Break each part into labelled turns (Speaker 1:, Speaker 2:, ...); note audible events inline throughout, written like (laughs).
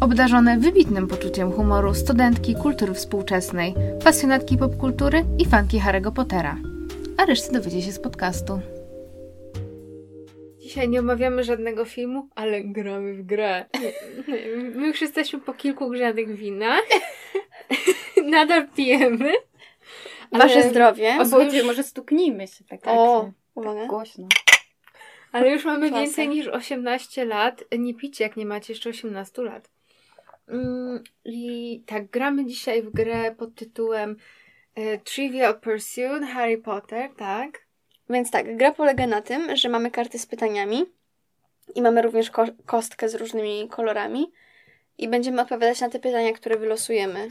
Speaker 1: obdarzone wybitnym poczuciem humoru studentki kultury współczesnej, pasjonatki popkultury i fanki Harry'ego Pottera. A reszty dowiecie się z podcastu. Dzisiaj nie omawiamy żadnego filmu, ale gramy w grę. My już jesteśmy po kilku grzanych winach. (laughs) Nadal pijemy.
Speaker 2: Wasze zdrowie.
Speaker 3: O,
Speaker 1: bo
Speaker 3: słuchajcie,
Speaker 1: już-
Speaker 3: może stuknijmy się tak
Speaker 2: O,
Speaker 3: akcją.
Speaker 2: uwaga.
Speaker 3: tak głośno.
Speaker 1: Ale już mamy
Speaker 2: Klasy.
Speaker 1: więcej niż 18 lat. Nie picie, jak nie macie jeszcze 18 lat. Mm, I tak, gramy dzisiaj w grę pod tytułem e, Trivial Pursuit Harry Potter, tak?
Speaker 2: Więc tak, gra polega na tym, że mamy karty z pytaniami i mamy również ko- kostkę z różnymi kolorami i będziemy odpowiadać na te pytania, które wylosujemy,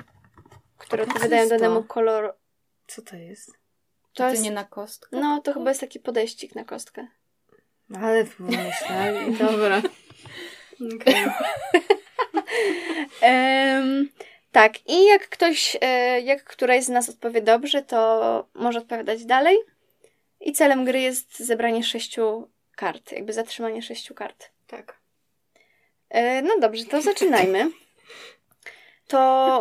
Speaker 2: które
Speaker 3: O,
Speaker 2: odpowiadają
Speaker 3: procysto.
Speaker 2: danemu kolor.
Speaker 1: Co to jest?
Speaker 3: To
Speaker 2: To jest...
Speaker 3: nie na kostkę?
Speaker 2: No, to chyba jest taki podejścik na kostkę.
Speaker 1: No, Ale (laughs) pomyśleli. Dobra. Okej.
Speaker 2: Em, tak, i jak ktoś, e, jak któraś z nas odpowie dobrze, to może odpowiadać dalej. I celem gry jest zebranie sześciu kart, jakby zatrzymanie sześciu kart.
Speaker 1: Tak.
Speaker 2: E, no dobrze, to zaczynajmy. To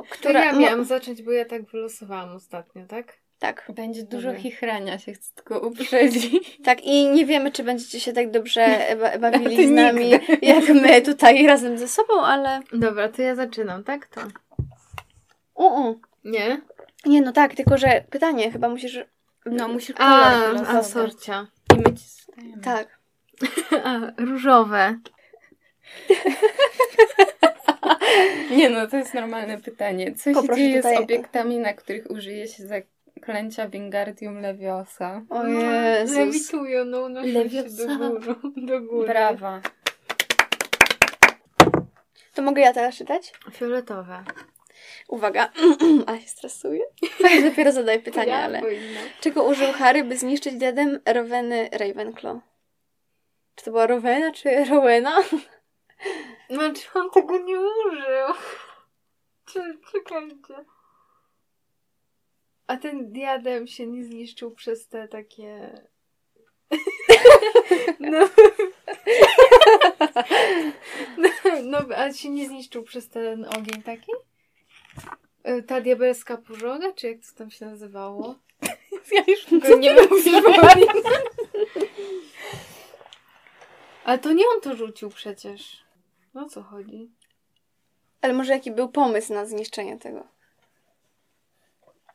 Speaker 1: To
Speaker 2: która.
Speaker 1: ja
Speaker 2: mo-
Speaker 1: miałam zacząć, bo ja tak wylosowałam ostatnio, tak?
Speaker 2: tak,
Speaker 3: Będzie dużo
Speaker 1: Dobra.
Speaker 3: chichrania, się chcę tylko
Speaker 2: (laughs)
Speaker 3: uprzedzić.
Speaker 2: tak, i nie wiemy, czy będziecie się tak dobrze
Speaker 3: (laughs)
Speaker 2: ba-
Speaker 3: To
Speaker 2: bawili z
Speaker 3: nigdy.
Speaker 2: nami, jak my tutaj razem ze sobą, ale.
Speaker 1: Dobra, to ja zaczynam, tak? To.
Speaker 2: U-u.
Speaker 1: Nie?
Speaker 2: Nie, no tak, tylko że pytanie, chyba musisz.
Speaker 3: No, musisz kolor
Speaker 1: A, a
Speaker 3: wylosować.
Speaker 1: sorcia. (laughs)
Speaker 3: I my ci stajemy.
Speaker 2: Tak.
Speaker 1: A, różowe.
Speaker 3: Nie no, to jest normalne pytanie. Co się
Speaker 2: Poproszę
Speaker 3: dzieje z
Speaker 2: tutaj-
Speaker 3: obiektami, na których użyje się zaklęcia Wingardium Leviosa?
Speaker 2: O
Speaker 1: No,
Speaker 2: Jezus.
Speaker 1: Lewitują, no unoszą się
Speaker 3: Lewiosa.
Speaker 1: do góry. Do góry.
Speaker 3: Brawa.
Speaker 2: To mogę ja teraz czytać?
Speaker 1: Fioletowe.
Speaker 2: Uwaga, (clears throat) a się stresuję. (laughs) Dopiero zadaję pytanie, ale... Czego użył Harry, by zniszczyć diadem Roweny Ravenclaw? Czy to była Rowena, czy Rowena? (laughs)
Speaker 1: Znaczy on
Speaker 3: Tak.
Speaker 1: tego nie użył. (laughs) Cze- Czekajcie. A ten diadem się nie zniszczył przez te takie... (laughs) No. (laughs) no, no, a się nie zniszczył przez ten ogień taki? Y, Ta diabelska purzona, czy jak to tam się nazywało?
Speaker 3: (laughs) Ja już
Speaker 1: Go nie (laughs) przypominam. Ale to nie on to rzucił przecież. No o co chodzi?
Speaker 2: Ale może jaki był pomysł na zniszczenie tego?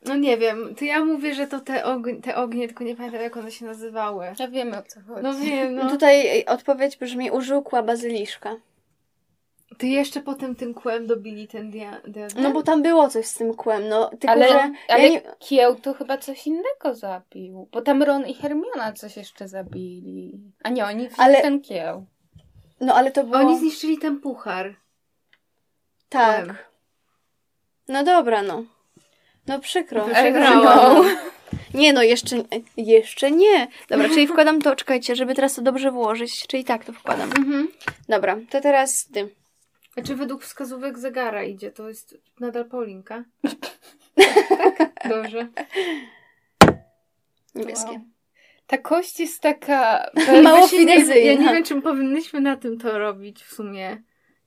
Speaker 1: No nie wiem, to ja mówię, że to te, ogn- te ognie, tylko nie pamiętam jak one się nazywały.
Speaker 3: Ja wiemy o co chodzi.
Speaker 1: No
Speaker 3: (laughs)
Speaker 1: wiem, no.
Speaker 2: Tutaj ej, odpowiedź brzmi, użył kła bazyliszka.
Speaker 1: Ty jeszcze potem tym kłem dobili ten dia- diadem?
Speaker 2: No bo tam było coś z tym kłem, no tylko,
Speaker 3: Mhm. ale
Speaker 2: że...
Speaker 3: ale
Speaker 2: Ja nie...
Speaker 3: kieł to chyba coś innego zabił. Bo tam Ron i Hermiona coś jeszcze zabili. A nie, oni wzięli
Speaker 2: Ale-
Speaker 3: ten kieł.
Speaker 2: No ale to było...
Speaker 1: Oni zniszczyli ten puchar. kłem.
Speaker 2: Tak. No dobra, no. No przykro.
Speaker 1: Ale
Speaker 2: Przegrałam.
Speaker 1: no. (laughs)
Speaker 2: Nie no, jeszcze, jeszcze nie. Dobra, czyli wkładam to, czekajcie, żeby teraz to dobrze włożyć. Czyli tak to wkładam.
Speaker 1: Mhm.
Speaker 2: Dobra, to teraz ty.
Speaker 1: Znaczy według wskazówek zegara idzie, to jest nadal Paulinka. tak? Dobrze.
Speaker 2: Niebieskie.
Speaker 3: Ta kość jest taka...
Speaker 2: Mało
Speaker 1: No Właśnie nie- Ja
Speaker 2: finezyjna.
Speaker 1: nie wiem, czym powinnyśmy na tym to robić w sumie.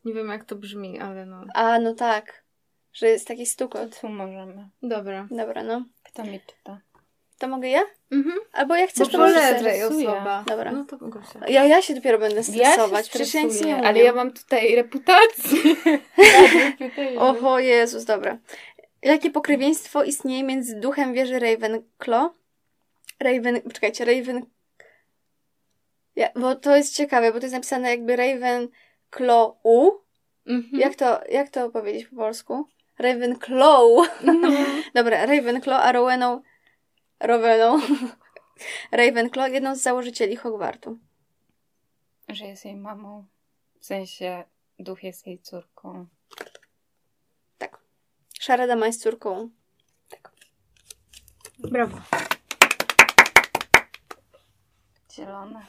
Speaker 1: Nie wiem, jak to brzmi, ale no.
Speaker 2: A, no tak. Że jest taki
Speaker 3: To
Speaker 2: stukot.
Speaker 3: tu możemy.
Speaker 1: Dobra.
Speaker 2: Dobra, no.
Speaker 3: Kto mi czyta?
Speaker 2: To mogę ja?
Speaker 1: Mhm.
Speaker 2: Albo jak
Speaker 1: Bo
Speaker 2: chcesz, to
Speaker 3: wolę-
Speaker 2: możesz.
Speaker 1: poleżej
Speaker 3: stresuje.
Speaker 1: osoba.
Speaker 2: Dobra.
Speaker 1: No to mogę się.
Speaker 2: Ja, ja się dopiero będę
Speaker 3: się
Speaker 2: stresować. Przecież ja nic nie
Speaker 3: stresuję,
Speaker 2: mówię.
Speaker 3: Ale ja mam tutaj
Speaker 4: (laughs)
Speaker 3: reputację.
Speaker 2: Oho, Jezus, dobra. Jakie pokrewieństwo istnieje między duchem wieży Ravenclaw? Raven... Czekajcie, Raven... Ja, bo to jest ciekawe, bo to jest napisane jakby Ravenclaw U.
Speaker 1: Mhm.
Speaker 2: Jak, to, jak to powiedzieć po polsku? Ravenclaw.
Speaker 1: No.
Speaker 2: (laughs) Dobra, Ravenclaw, a Roweną... Roweną... (laughs) Ravenclaw, jedną z założycieli Hogwartu.
Speaker 3: Że jest jej mamą. W sensie duch jest jej córką.
Speaker 2: Tak. Szara dama jest córką
Speaker 4: Brawo.
Speaker 1: Zielone.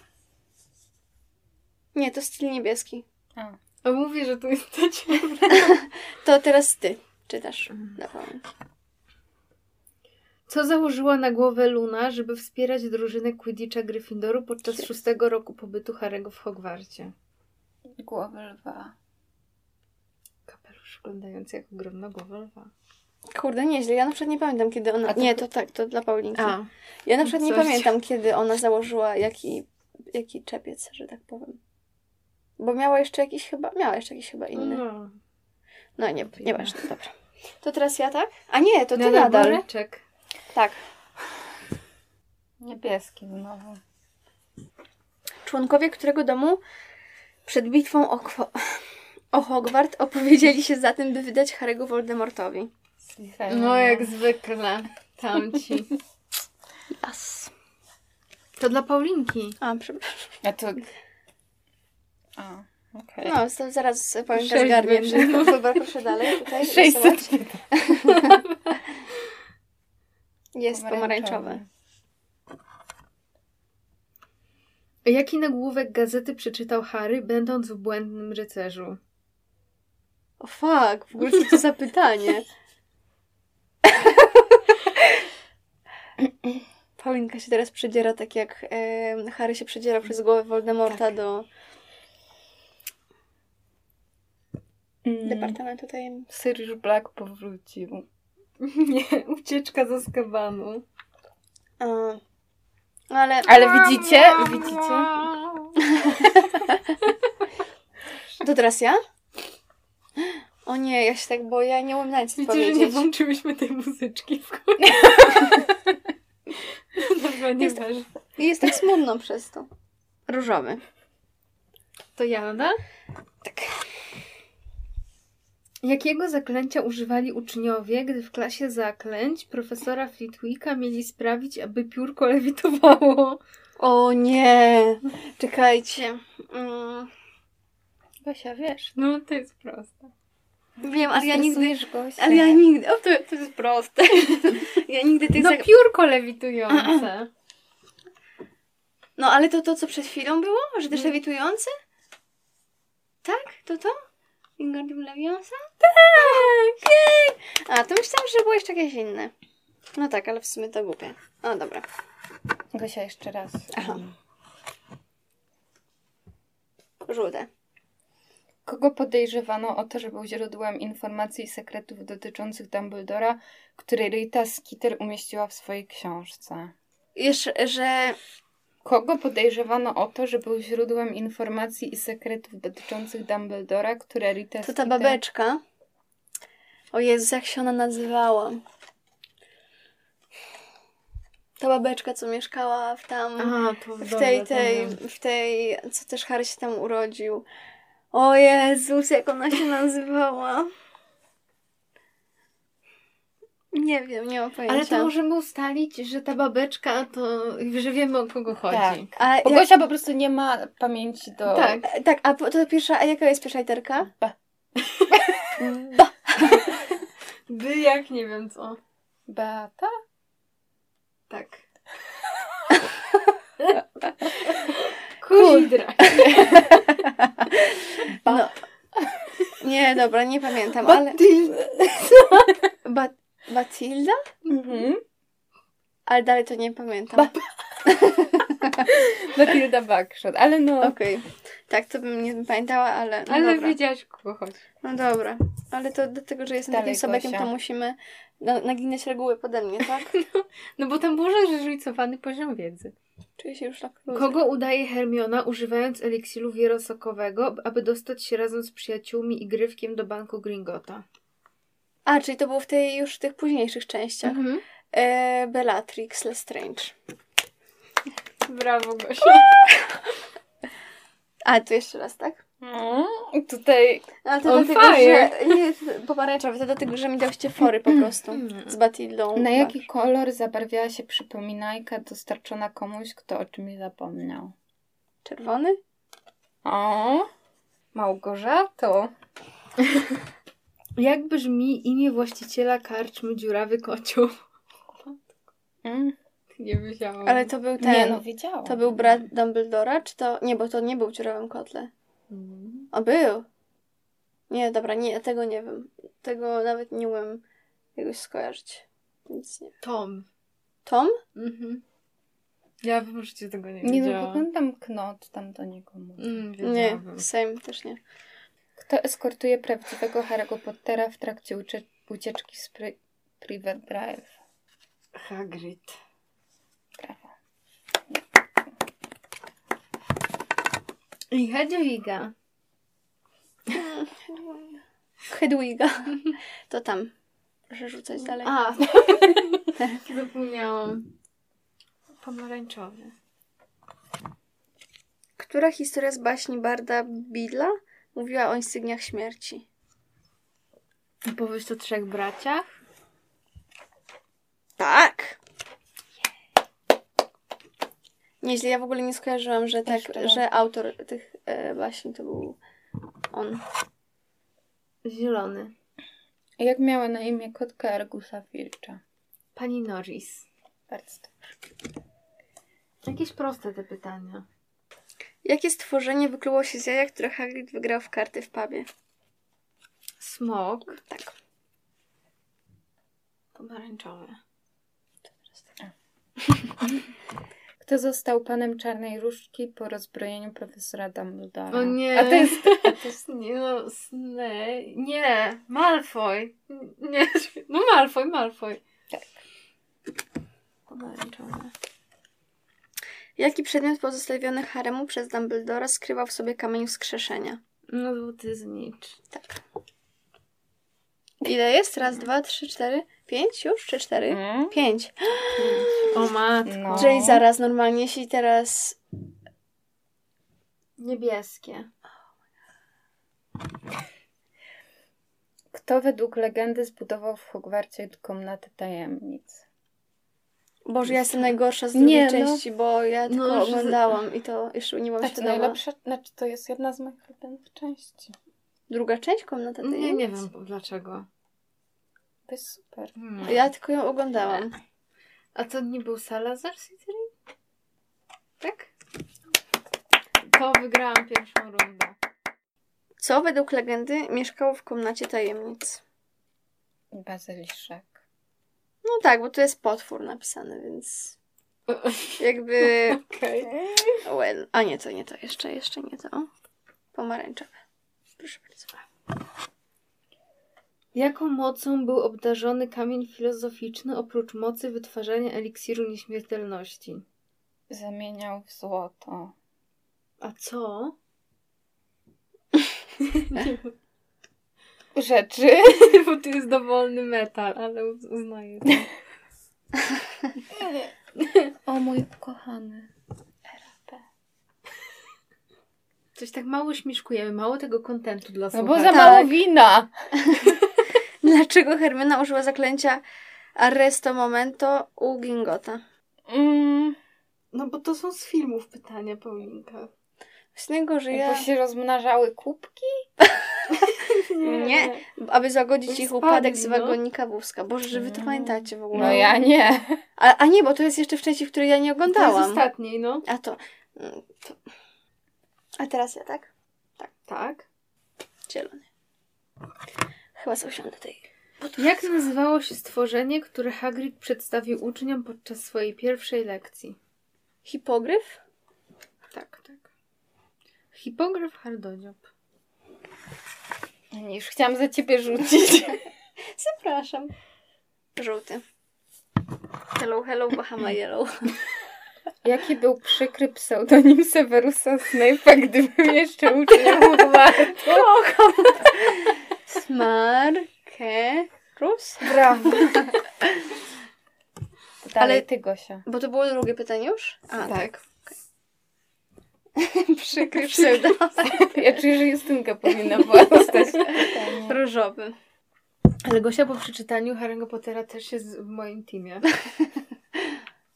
Speaker 2: Nie, to styl niebieski.
Speaker 1: A.
Speaker 4: A mówi, że to jest ta ciemna.
Speaker 2: To teraz ty czytasz.
Speaker 1: Mhm.
Speaker 2: Na pamięć.
Speaker 4: Co założyła na głowę Luna, żeby wspierać drużynę Quidditcha Gryffindoru podczas szóstego roku pobytu Harry'ego w Hogwarcie?
Speaker 1: Głowy lwa.
Speaker 4: Kapelusz wyglądający jak ogromna głowa lwa.
Speaker 2: Kurde, nieźle. Ja na przykład nie pamiętam, kiedy ona...
Speaker 4: A to-
Speaker 2: Nie, to tak, to dla Paulinki.
Speaker 4: A,
Speaker 2: Ja na przykład nie
Speaker 4: Coś.
Speaker 2: pamiętam, kiedy ona założyła jaki, jaki czepiec, że tak powiem. Bo miała jeszcze jakiś chyba, miała jeszcze jakiś chyba inny.
Speaker 4: no.
Speaker 2: No nie,
Speaker 4: to
Speaker 2: nieważne, dobra. To teraz ja tak? A nie, to ty
Speaker 4: Nadal
Speaker 2: nadal.
Speaker 4: No woreczek.
Speaker 2: Tak.
Speaker 1: Niebieski znowu.
Speaker 2: Członkowie którego domu przed bitwą o, Kwo- o Hogwart opowiedzieli się za tym, by wydać Harry'ego Voldemortowi.
Speaker 1: Slytherin.
Speaker 4: No jak zwykle. Tamci.
Speaker 2: Yes.
Speaker 4: To dla Paulinki.
Speaker 2: A, przepraszam.
Speaker 1: A to... A, okej.
Speaker 2: No, to zaraz pamiętam
Speaker 4: Sześć
Speaker 2: zgarnię.
Speaker 4: będzie.
Speaker 2: (laughs) wszystko. Dobra, proszę dalej. (laughs) Tutaj rysować.
Speaker 1: 600
Speaker 2: Jest pomarańczowe.
Speaker 4: Jaki nagłówek gazety przeczytał Harry, będąc w błędnym rycerzu?
Speaker 2: O fuck, w ogóle co to za pytanie? (laughs) Paulinka się teraz przedziera tak jak em, Harry się przedziera przez głowę Voldemorta do
Speaker 1: Mm.
Speaker 2: Departamentu Tajemnic.
Speaker 1: Sirius Black powrócił.
Speaker 4: (laughs) Nie, ucieczka ze skabanu.
Speaker 2: A, No, ale
Speaker 1: Ale widzicie? Widzicie?
Speaker 2: to teraz ja? (gasps) O nie, ja się tak boję, ja nie umiem na nic
Speaker 4: Widzicie, że
Speaker 2: odpowiedzieć.
Speaker 4: nie włączyłyśmy tej muzyczki w końcu. (laughs) Dobra, nie
Speaker 2: Jest-
Speaker 4: wiesz.
Speaker 2: I jest tak smutno przez to. Różowy.
Speaker 4: To no? Jana?
Speaker 2: Tak.
Speaker 4: Jakiego zaklęcia używali uczniowie, gdy w klasie zaklęć profesora Flitwicka mieli sprawić, aby piórko lewitowało?
Speaker 2: O nie, czekajcie. Mm,
Speaker 1: Gosia, wiesz.
Speaker 4: No, to jest proste.
Speaker 2: wiem, ale ja nigdy
Speaker 1: Gosia.
Speaker 2: Ale ja nigdy. O, to, to jest proste. ja nigdy tych.
Speaker 4: No,
Speaker 2: zag...
Speaker 4: piórko lewitujące.
Speaker 2: no ale to to, co przed chwilą było? Że też lewitujące? Tak? To to? Wingardium Leviosa? Tak! Jej! A, to myślałam, że było jeszcze jakieś inne. No tak, ale w sumie to głupie. O, dobra.
Speaker 1: Gosia jeszcze raz.
Speaker 2: Aha. Żółte.
Speaker 1: Kogo podejrzewano o to, że był źródłem informacji i sekretów dotyczących Dumbledora, które Rita Skeeter umieściła w swojej książce?
Speaker 2: Jeszcze, że...
Speaker 1: Kogo podejrzewano o to, że był źródłem informacji i sekretów dotyczących Dumbledora, które Rita
Speaker 2: To ta babeczka. O Jezu, jak się ona nazywała. Ta babeczka, co mieszkała w tam...
Speaker 4: A, to
Speaker 2: W tej, tej, w tej, co też Harry się tam urodził. O Jezus, jak ona się nazywała. Nie wiem, nie mam pojęcia.
Speaker 4: Ale to możemy ustalić, że ta babeczka to, że wiemy o kogo chodzi.
Speaker 1: Tak.
Speaker 2: A
Speaker 1: Bo
Speaker 2: jak,
Speaker 1: Gosia po prostu nie ma pamięci do...
Speaker 4: Tak.
Speaker 2: tak, a po- to pierwsza, a jaka jest pierwsza literka?
Speaker 1: B.
Speaker 2: B.
Speaker 4: By jak nie wiem co.
Speaker 1: Beata?
Speaker 4: Tak. (laughs) Kuzidra.
Speaker 2: No. (laughs) Nie, dobra, nie pamiętam, ale... (laughs) Ba- Batilda?
Speaker 1: Mhm.
Speaker 2: Ale dalej to nie pamiętam.
Speaker 1: Matilda Backshot, ale no...
Speaker 2: Okej. Tak, to bym nie pamiętała, ale... No
Speaker 4: Ale
Speaker 2: dobra.
Speaker 4: wiedziałaś o kogo chodzi.
Speaker 2: No dobra, ale to do tego, że jestem
Speaker 1: Dalej,
Speaker 2: takim sobekiem,
Speaker 1: Gosia.
Speaker 2: to musimy na- naginać reguły pode mnie, tak?
Speaker 4: (laughs) No bo tam może zróżnicowany poziom wiedzy.
Speaker 2: Czuję się już tak
Speaker 4: Kogo udaje Hermiona używając eliksiru wierosokowego, aby dostać się razem z przyjaciółmi i grywkiem do banku Gringota?
Speaker 2: A, czyli to było w tej już tych późniejszych częściach.
Speaker 4: Mhm.
Speaker 2: E, Bellatrix Lestrange.
Speaker 4: Brawo, Gosia.
Speaker 2: A, tu jeszcze raz, tak?
Speaker 1: Mm, Tutaj
Speaker 2: No, Ale to
Speaker 4: On
Speaker 2: dlatego,
Speaker 4: fire.
Speaker 2: że... Nie, pomarańczowy, to dlatego, że mi dałyście fory po prostu.
Speaker 4: Mm.
Speaker 2: Z Batildą.
Speaker 1: na jaki kolor zabarwiała się przypominajka dostarczona komuś, kto o czymś zapomniał?
Speaker 2: Czerwony?
Speaker 1: O,
Speaker 4: (laughs)
Speaker 1: Małgorzato.
Speaker 4: Jak brzmi imię właściciela karczmy dziurawy kocioł?
Speaker 1: Mm.
Speaker 4: Nie wiedziałam.
Speaker 2: Ale to był ten.
Speaker 1: Nie, no wiedziałam.
Speaker 2: To był brat Dumbledora, czy to. Nie, bo to nie był w dziurawym kotle.
Speaker 4: Mm.
Speaker 2: O, był. Nie, dobra, nie, tego nie wiem. Tego nawet nie umiem jakoś skojarzyć. Nic nie wiem.
Speaker 4: Tom.
Speaker 2: Tom?
Speaker 4: Mhm. Ja bym życiu tego nie
Speaker 1: Nie no,
Speaker 4: wiedziałam.
Speaker 1: wyglądam knot tam do nikomu.
Speaker 4: Mm,
Speaker 2: Nie,
Speaker 4: wiedziałabym.
Speaker 2: same też nie.
Speaker 1: Kto eskortuje prawdziwego Harry'ego Pottera w trakcie ucie- ucieczki z pri- Private Drive?
Speaker 4: Hagrid.
Speaker 1: Brawo.
Speaker 4: I Hedwiga.
Speaker 2: Hedwiga. To tam. Proszę rzucać dalej.
Speaker 4: A, (laughs) zapomniałam. Pomarańczowy.
Speaker 2: Która historia z baśni Barda Bidla mówiła o insygniach śmierci?
Speaker 4: Opowieść o trzech braciach?
Speaker 2: Tak! Nieźle, ja w ogóle nie skojarzyłam, że tak,
Speaker 1: Jeszcze raz.
Speaker 2: że autor tych e, baśni to był on.
Speaker 4: Zielony.
Speaker 1: Jak miała na imię kotka Argusa Filcza?
Speaker 4: Pani Norris.
Speaker 1: Bardzo dobrze.
Speaker 4: Jakieś proste te pytania.
Speaker 2: Jakie stworzenie wykluło się z jaja, które Hagrid wygrał w karty w pubie?
Speaker 4: Smok.
Speaker 2: Tak.
Speaker 4: Pomarańczowy.
Speaker 1: Kto został panem Czarnej Różdżki po rozbrojeniu profesora Dumbledora?
Speaker 4: O nie.
Speaker 1: A to jest... A to jest...
Speaker 4: Nie no, sny. Nie, Malfoy. N- Nie, (laughs) no Malfoy, Malfoy.
Speaker 1: Tak.
Speaker 4: Pomarańczowy.
Speaker 2: Jaki przedmiot pozostawiony Haremu przez Dumbledora skrywał w sobie kamień wskrzeszenia? Tak.
Speaker 4: No złotyznicz.
Speaker 2: Ile jest? Raz, dwa, trzy, cztery, pięć już? Czy cztery?
Speaker 1: Mm?
Speaker 2: Pięć.
Speaker 4: O matko.
Speaker 1: No.
Speaker 2: Czyli zaraz normalnie, jeśli teraz...
Speaker 4: Niebieskie.
Speaker 1: Kto według legendy zbudował w Hogwarcie komnatę tajemnic?
Speaker 2: Boże, ja jestem najgorsza z drugiej
Speaker 1: Nie, no.
Speaker 2: części, bo ja tylko
Speaker 4: już z-
Speaker 2: oglądałam i to jeszcze nie byłam
Speaker 1: Tak,
Speaker 2: świadoma.
Speaker 1: najlepsza, znaczy to jest jedna z moich ulubionych części.
Speaker 2: Druga część komnata
Speaker 4: Nie,
Speaker 2: tajemnic?
Speaker 4: nie wiem dlaczego.
Speaker 1: To jest super.
Speaker 4: Hmm.
Speaker 2: Ja tylko ją oglądałam.
Speaker 4: A to nie był Salazar Slytherin? Tak? To wygrałam pierwszą rundę.
Speaker 2: Co według legendy mieszkało w komnacie tajemnic?
Speaker 1: Bazyliszek.
Speaker 2: No tak, bo tu jest potwór napisany,
Speaker 4: (laughs)
Speaker 2: więc jakby...
Speaker 4: Okej.
Speaker 2: Well, a nie to, nie to, jeszcze, jeszcze nie to. Pomarańczowe. Proszę bardzo.
Speaker 4: Jaką mocą był obdarzony kamień filozoficzny oprócz mocy wytwarzania eliksiru nieśmiertelności?
Speaker 1: Zamieniał w złoto.
Speaker 4: A co?
Speaker 1: (laughs) Rzeczy.
Speaker 4: (laughs) Bo to jest dowolny metal, ale uz- uznaję to.
Speaker 1: (laughs) O mój kochany. RP.
Speaker 4: Coś tak mało śmieszkujemy, mało tego kontentu dla
Speaker 1: No
Speaker 4: słuchaczy.
Speaker 1: bo za
Speaker 2: tak.
Speaker 1: mało wina.
Speaker 2: Dlaczego Hermiona użyła zaklęcia Arresto Momento u Gingota?
Speaker 1: Mm,
Speaker 4: No bo to są z filmów pytania, Paulinka.
Speaker 2: Z niego, że
Speaker 1: jakby
Speaker 4: No
Speaker 2: ja...
Speaker 1: się rozmnażały kubki?
Speaker 2: Nie. Aby zagodzić ich upadek z
Speaker 4: Spadli, no.
Speaker 2: wagonika wózka. Boże, że wy to
Speaker 1: Mm.
Speaker 2: pamiętacie w ogóle.
Speaker 1: No ja nie.
Speaker 2: A, a nie, bo to jest jeszcze w części, w której ja nie
Speaker 4: To jest
Speaker 2: oglądałam.
Speaker 4: ostatniej, no.
Speaker 2: A to... mm, to... A teraz ja, tak?
Speaker 4: Tak.
Speaker 2: Zielony. Chyba zausiądę tej...
Speaker 4: Jak nazywało się stworzenie, które Hagrid przedstawił uczniom podczas swojej pierwszej lekcji?
Speaker 2: Hipogryf?
Speaker 4: Tak, tak. Hipograf Hardodziop.
Speaker 1: Już chciałam za ciebie rzucić.
Speaker 2: Zapraszam. Żółty. Hello, hello, Bahama Yellow.
Speaker 1: Jaki był przykry pseudonim Severusa Snape'a, gdy był jeszcze uczniem Hogwartu?
Speaker 2: Smarkerus?
Speaker 1: Brawo.
Speaker 2: Ale-
Speaker 1: Ale ty, Gosia.
Speaker 2: Bo to było drugie pytanie już? A,
Speaker 4: tak.
Speaker 1: Tak
Speaker 2: przykry pseudo.
Speaker 1: Ja czuję, że Justynka powinna
Speaker 4: (laughs)
Speaker 1: była dostać.
Speaker 2: Różowy.
Speaker 4: Ale Gosia po przeczytaniu Harry'ego Pottera też jest w moim teamie.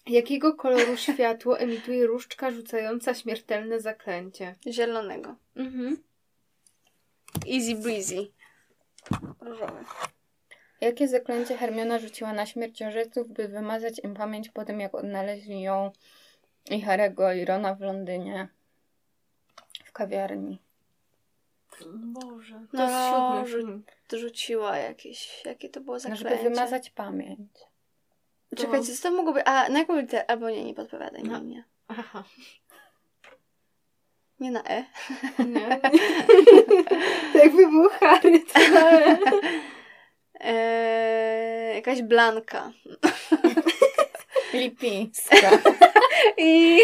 Speaker 4: Jakiego koloru światło emituje różdżka rzucająca śmiertelne zaklęcie?
Speaker 2: Zielonego.
Speaker 4: Mhm.
Speaker 2: Easy breezy. Różowy.
Speaker 1: Jakie zaklęcie Hermiona rzuciła na śmierciożerców, by wymazać im pamięć po tym, jak odnaleźli ją i Harego i Rona w Londynie w kawiarni?
Speaker 3: Boże, to
Speaker 2: No,
Speaker 3: jest siódmy już.
Speaker 2: Rzuciła jakieś... Jakie to było
Speaker 1: No,
Speaker 2: zaklęcie?
Speaker 1: żeby wymazać pamięć.
Speaker 2: Czekajcie, co to mogło być? A, na jaką literę? Albo nie, nie podpowiadaj na mnie.
Speaker 3: Aha.
Speaker 2: Nie na E.
Speaker 3: Nie. to jakby był Harry, to
Speaker 2: Eee, jakaś Blanka.
Speaker 1: Lipińska.
Speaker 2: I...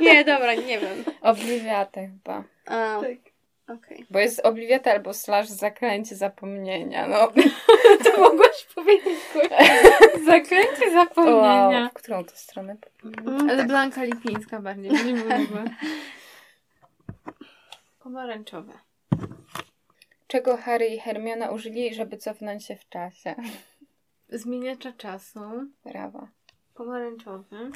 Speaker 2: nie, dobra, nie wiem.
Speaker 1: Obliwiata chyba.
Speaker 2: A,
Speaker 3: tak.
Speaker 2: okej.
Speaker 1: Bo jest obliwiata albo slash zaklęcie zapomnienia. No,
Speaker 3: To mogłaś powiedzieć Zakręcie
Speaker 1: wow. W którą to stronę?
Speaker 2: Mm,
Speaker 3: Ale
Speaker 2: tak.
Speaker 3: Blanka Lipińska bardziej, nie mówiła. (laughs) Pomarańczowe.
Speaker 1: Czego Harry i Hermiona użyli, żeby cofnąć się w czasie? (laughs)
Speaker 3: Zmieniacza czasu.
Speaker 1: Brawa.
Speaker 3: Pomarańczowy.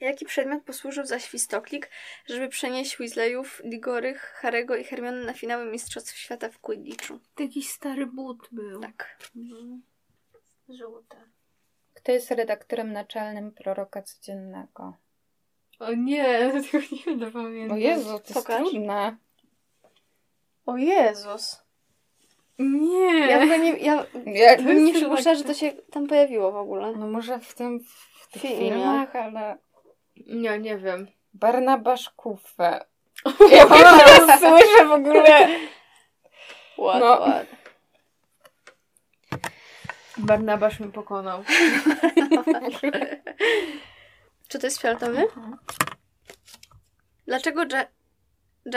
Speaker 2: Jaki przedmiot posłużył za świstoklik, żeby przenieść Weasleyów, Digorych, Harego i Hermiony na finały Mistrzostw Świata w Quidditchu?
Speaker 3: To jakiś stary but był.
Speaker 2: Tak.
Speaker 3: Mhm. Żółte.
Speaker 1: Kto jest redaktorem naczelnym proroka codziennego?
Speaker 3: O nie, (laughs) tego nie będę pamiętać.
Speaker 1: O Jezu, to jest
Speaker 2: Pokaż.
Speaker 1: trudne.
Speaker 2: O Jezus.
Speaker 3: Nie.
Speaker 2: Ja w ogóle nie, ja
Speaker 1: Ja,
Speaker 3: To jest
Speaker 2: nie
Speaker 3: chyba-
Speaker 2: przypuszczam, że to się tam pojawiło w
Speaker 1: (laughs)
Speaker 2: ogóle.
Speaker 1: no może w tym w tych
Speaker 2: Filmie.
Speaker 1: filmach, ale...
Speaker 3: Nie, nie wiem.
Speaker 1: Barnabasz Kufę. (laughs) Ja nie słyszę w ogóle.
Speaker 2: (laughs) Ład,
Speaker 1: No.
Speaker 2: ład.
Speaker 3: Barnabasz mnie pokonał.
Speaker 2: Czy to jest fioletowy? Dlaczego Ja-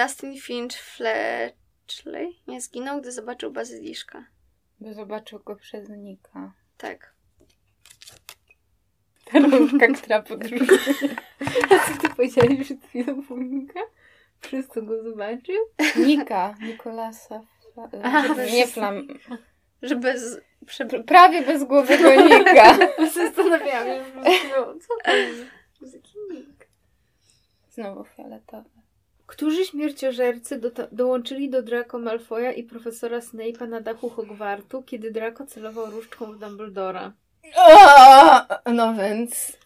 Speaker 2: Justin Finch Fletchley nie zginął, gdy zobaczył bazyliszka?
Speaker 1: Bo zobaczył go przez Nika. (laughs)
Speaker 2: Tak.
Speaker 1: Ta rąbka, która
Speaker 3: (laughs)
Speaker 1: podróżuje.
Speaker 3: Co ty powiedziałeś przed chwilą, Pomnika? Przez co go zobaczył?
Speaker 1: Nika, Nikolasa. Fla...
Speaker 2: Aha,
Speaker 1: nie flam.
Speaker 2: Żeby z... prze... (laughs)
Speaker 1: Pr- Prawie bez głowy go Nika.
Speaker 3: Zastanawiałam się, że chwilą, co to jest? Z jakim nick?
Speaker 1: Znowu fioletowy.
Speaker 3: Którzy śmierciożercy do dołączyli do Draco Malfoya i profesora Snape'a na dachu Hogwartu, kiedy Draco celował różdżką w Dumbledora?
Speaker 1: O, no więc.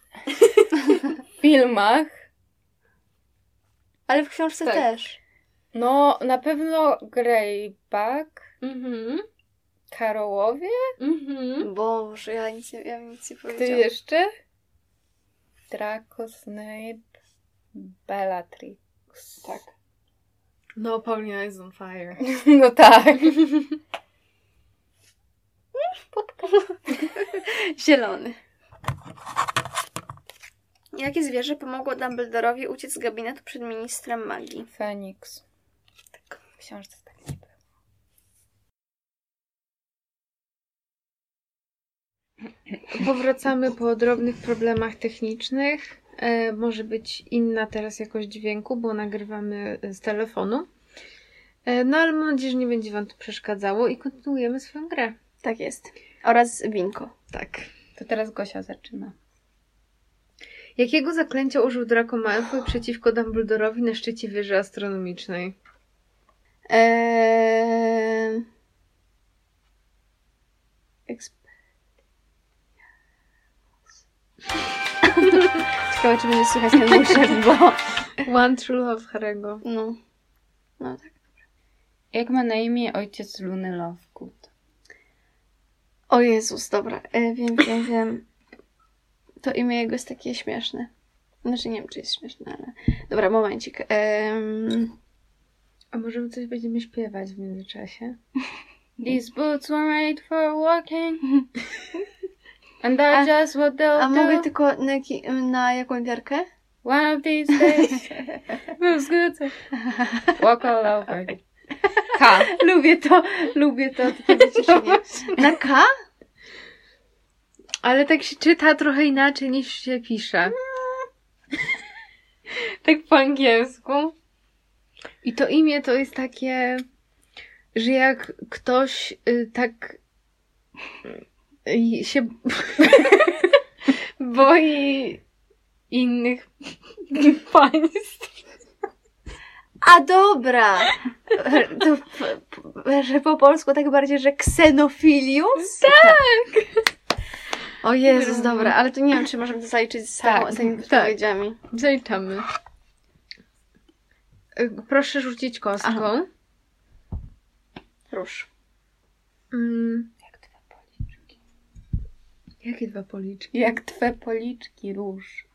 Speaker 1: W filmach.
Speaker 2: Ale w książce
Speaker 3: Tak.
Speaker 2: też.
Speaker 1: No, na pewno Greyback,
Speaker 3: Mhm.
Speaker 1: Karołowie.
Speaker 3: Mhm.
Speaker 2: Boże, ja nic nie, ja bym nic nie
Speaker 1: Kto
Speaker 2: powiedziałam.
Speaker 1: jeszcze? Draco, Snape, Bellatrix. Tak.
Speaker 3: No, Paulina is on fire.
Speaker 1: (laughs) No tak.
Speaker 2: Zielony. Jakie zwierzę pomogło Dumbledorowi uciec z gabinetu przed ministrem magii?
Speaker 1: Feniks. Tak. W książce tak nie było.
Speaker 3: Powracamy po drobnych problemach technicznych. E, może być inna teraz jakość dźwięku, bo nagrywamy e, z telefonu. E, no ale mam nadzieję, że nie będzie Wam to przeszkadzało i kontynuujemy swoją grę.
Speaker 2: Tak jest. Oraz winko.
Speaker 3: Tak.
Speaker 1: To teraz Gosia zaczyna.
Speaker 3: Jakiego zaklęcia użył Draco Malfoy przeciwko Dumbledorowi na szczycie wieży
Speaker 1: (laughs)
Speaker 3: astronomicznej?
Speaker 2: Eee... Eksp... Ciekawe, czy będzie słychać ten muszek, bo...
Speaker 3: One True Love Harego.
Speaker 2: No. No tak.
Speaker 1: Jak ma na imię ojciec Luny Lovegood?
Speaker 2: O Jezus, dobra. E, wiem, wiem, wiem. To imię jego jest takie śmieszne. Znaczy nie wiem, czy jest śmieszne, ale... Dobra, momencik. Eee, Em,
Speaker 3: A możemy coś będziemy śpiewać w międzyczasie?
Speaker 1: (laughs) These boots were made for walking. (laughs) And that's just what they'll
Speaker 2: A
Speaker 1: do.
Speaker 2: mogę tylko na, jaki- na jaką wiarkę?
Speaker 1: One of these
Speaker 2: (laughs)
Speaker 1: days. Those good. Walk all
Speaker 2: (laughs)
Speaker 1: over. K.
Speaker 2: Lubię to, lubię to, takie wyciszenie. Na K?
Speaker 3: Ale tak się czyta trochę inaczej niż się pisze.
Speaker 1: No. (laughs)
Speaker 3: tak po angielsku. I to imię to jest takie, że jak ktoś y, tak y, się (laughs) boi innych państw.
Speaker 2: A dobra! To, p- p- że po polsku tak bardziej, że
Speaker 1: (laughs)
Speaker 2: ksenofilius? Tak! O Jezus, dobra, ale to nie wiem, czy możemy to zaliczyć z samą,
Speaker 4: Tak,
Speaker 2: z tymi
Speaker 4: tak.
Speaker 2: odpowiedziami.
Speaker 4: Zaliczamy. Y, Proszę rzucić kostką.
Speaker 2: Aha. Róż.
Speaker 4: Mm,
Speaker 1: Jak dwa policzki.
Speaker 4: jakie dwa policzki?
Speaker 1: Jak twe policzki róż.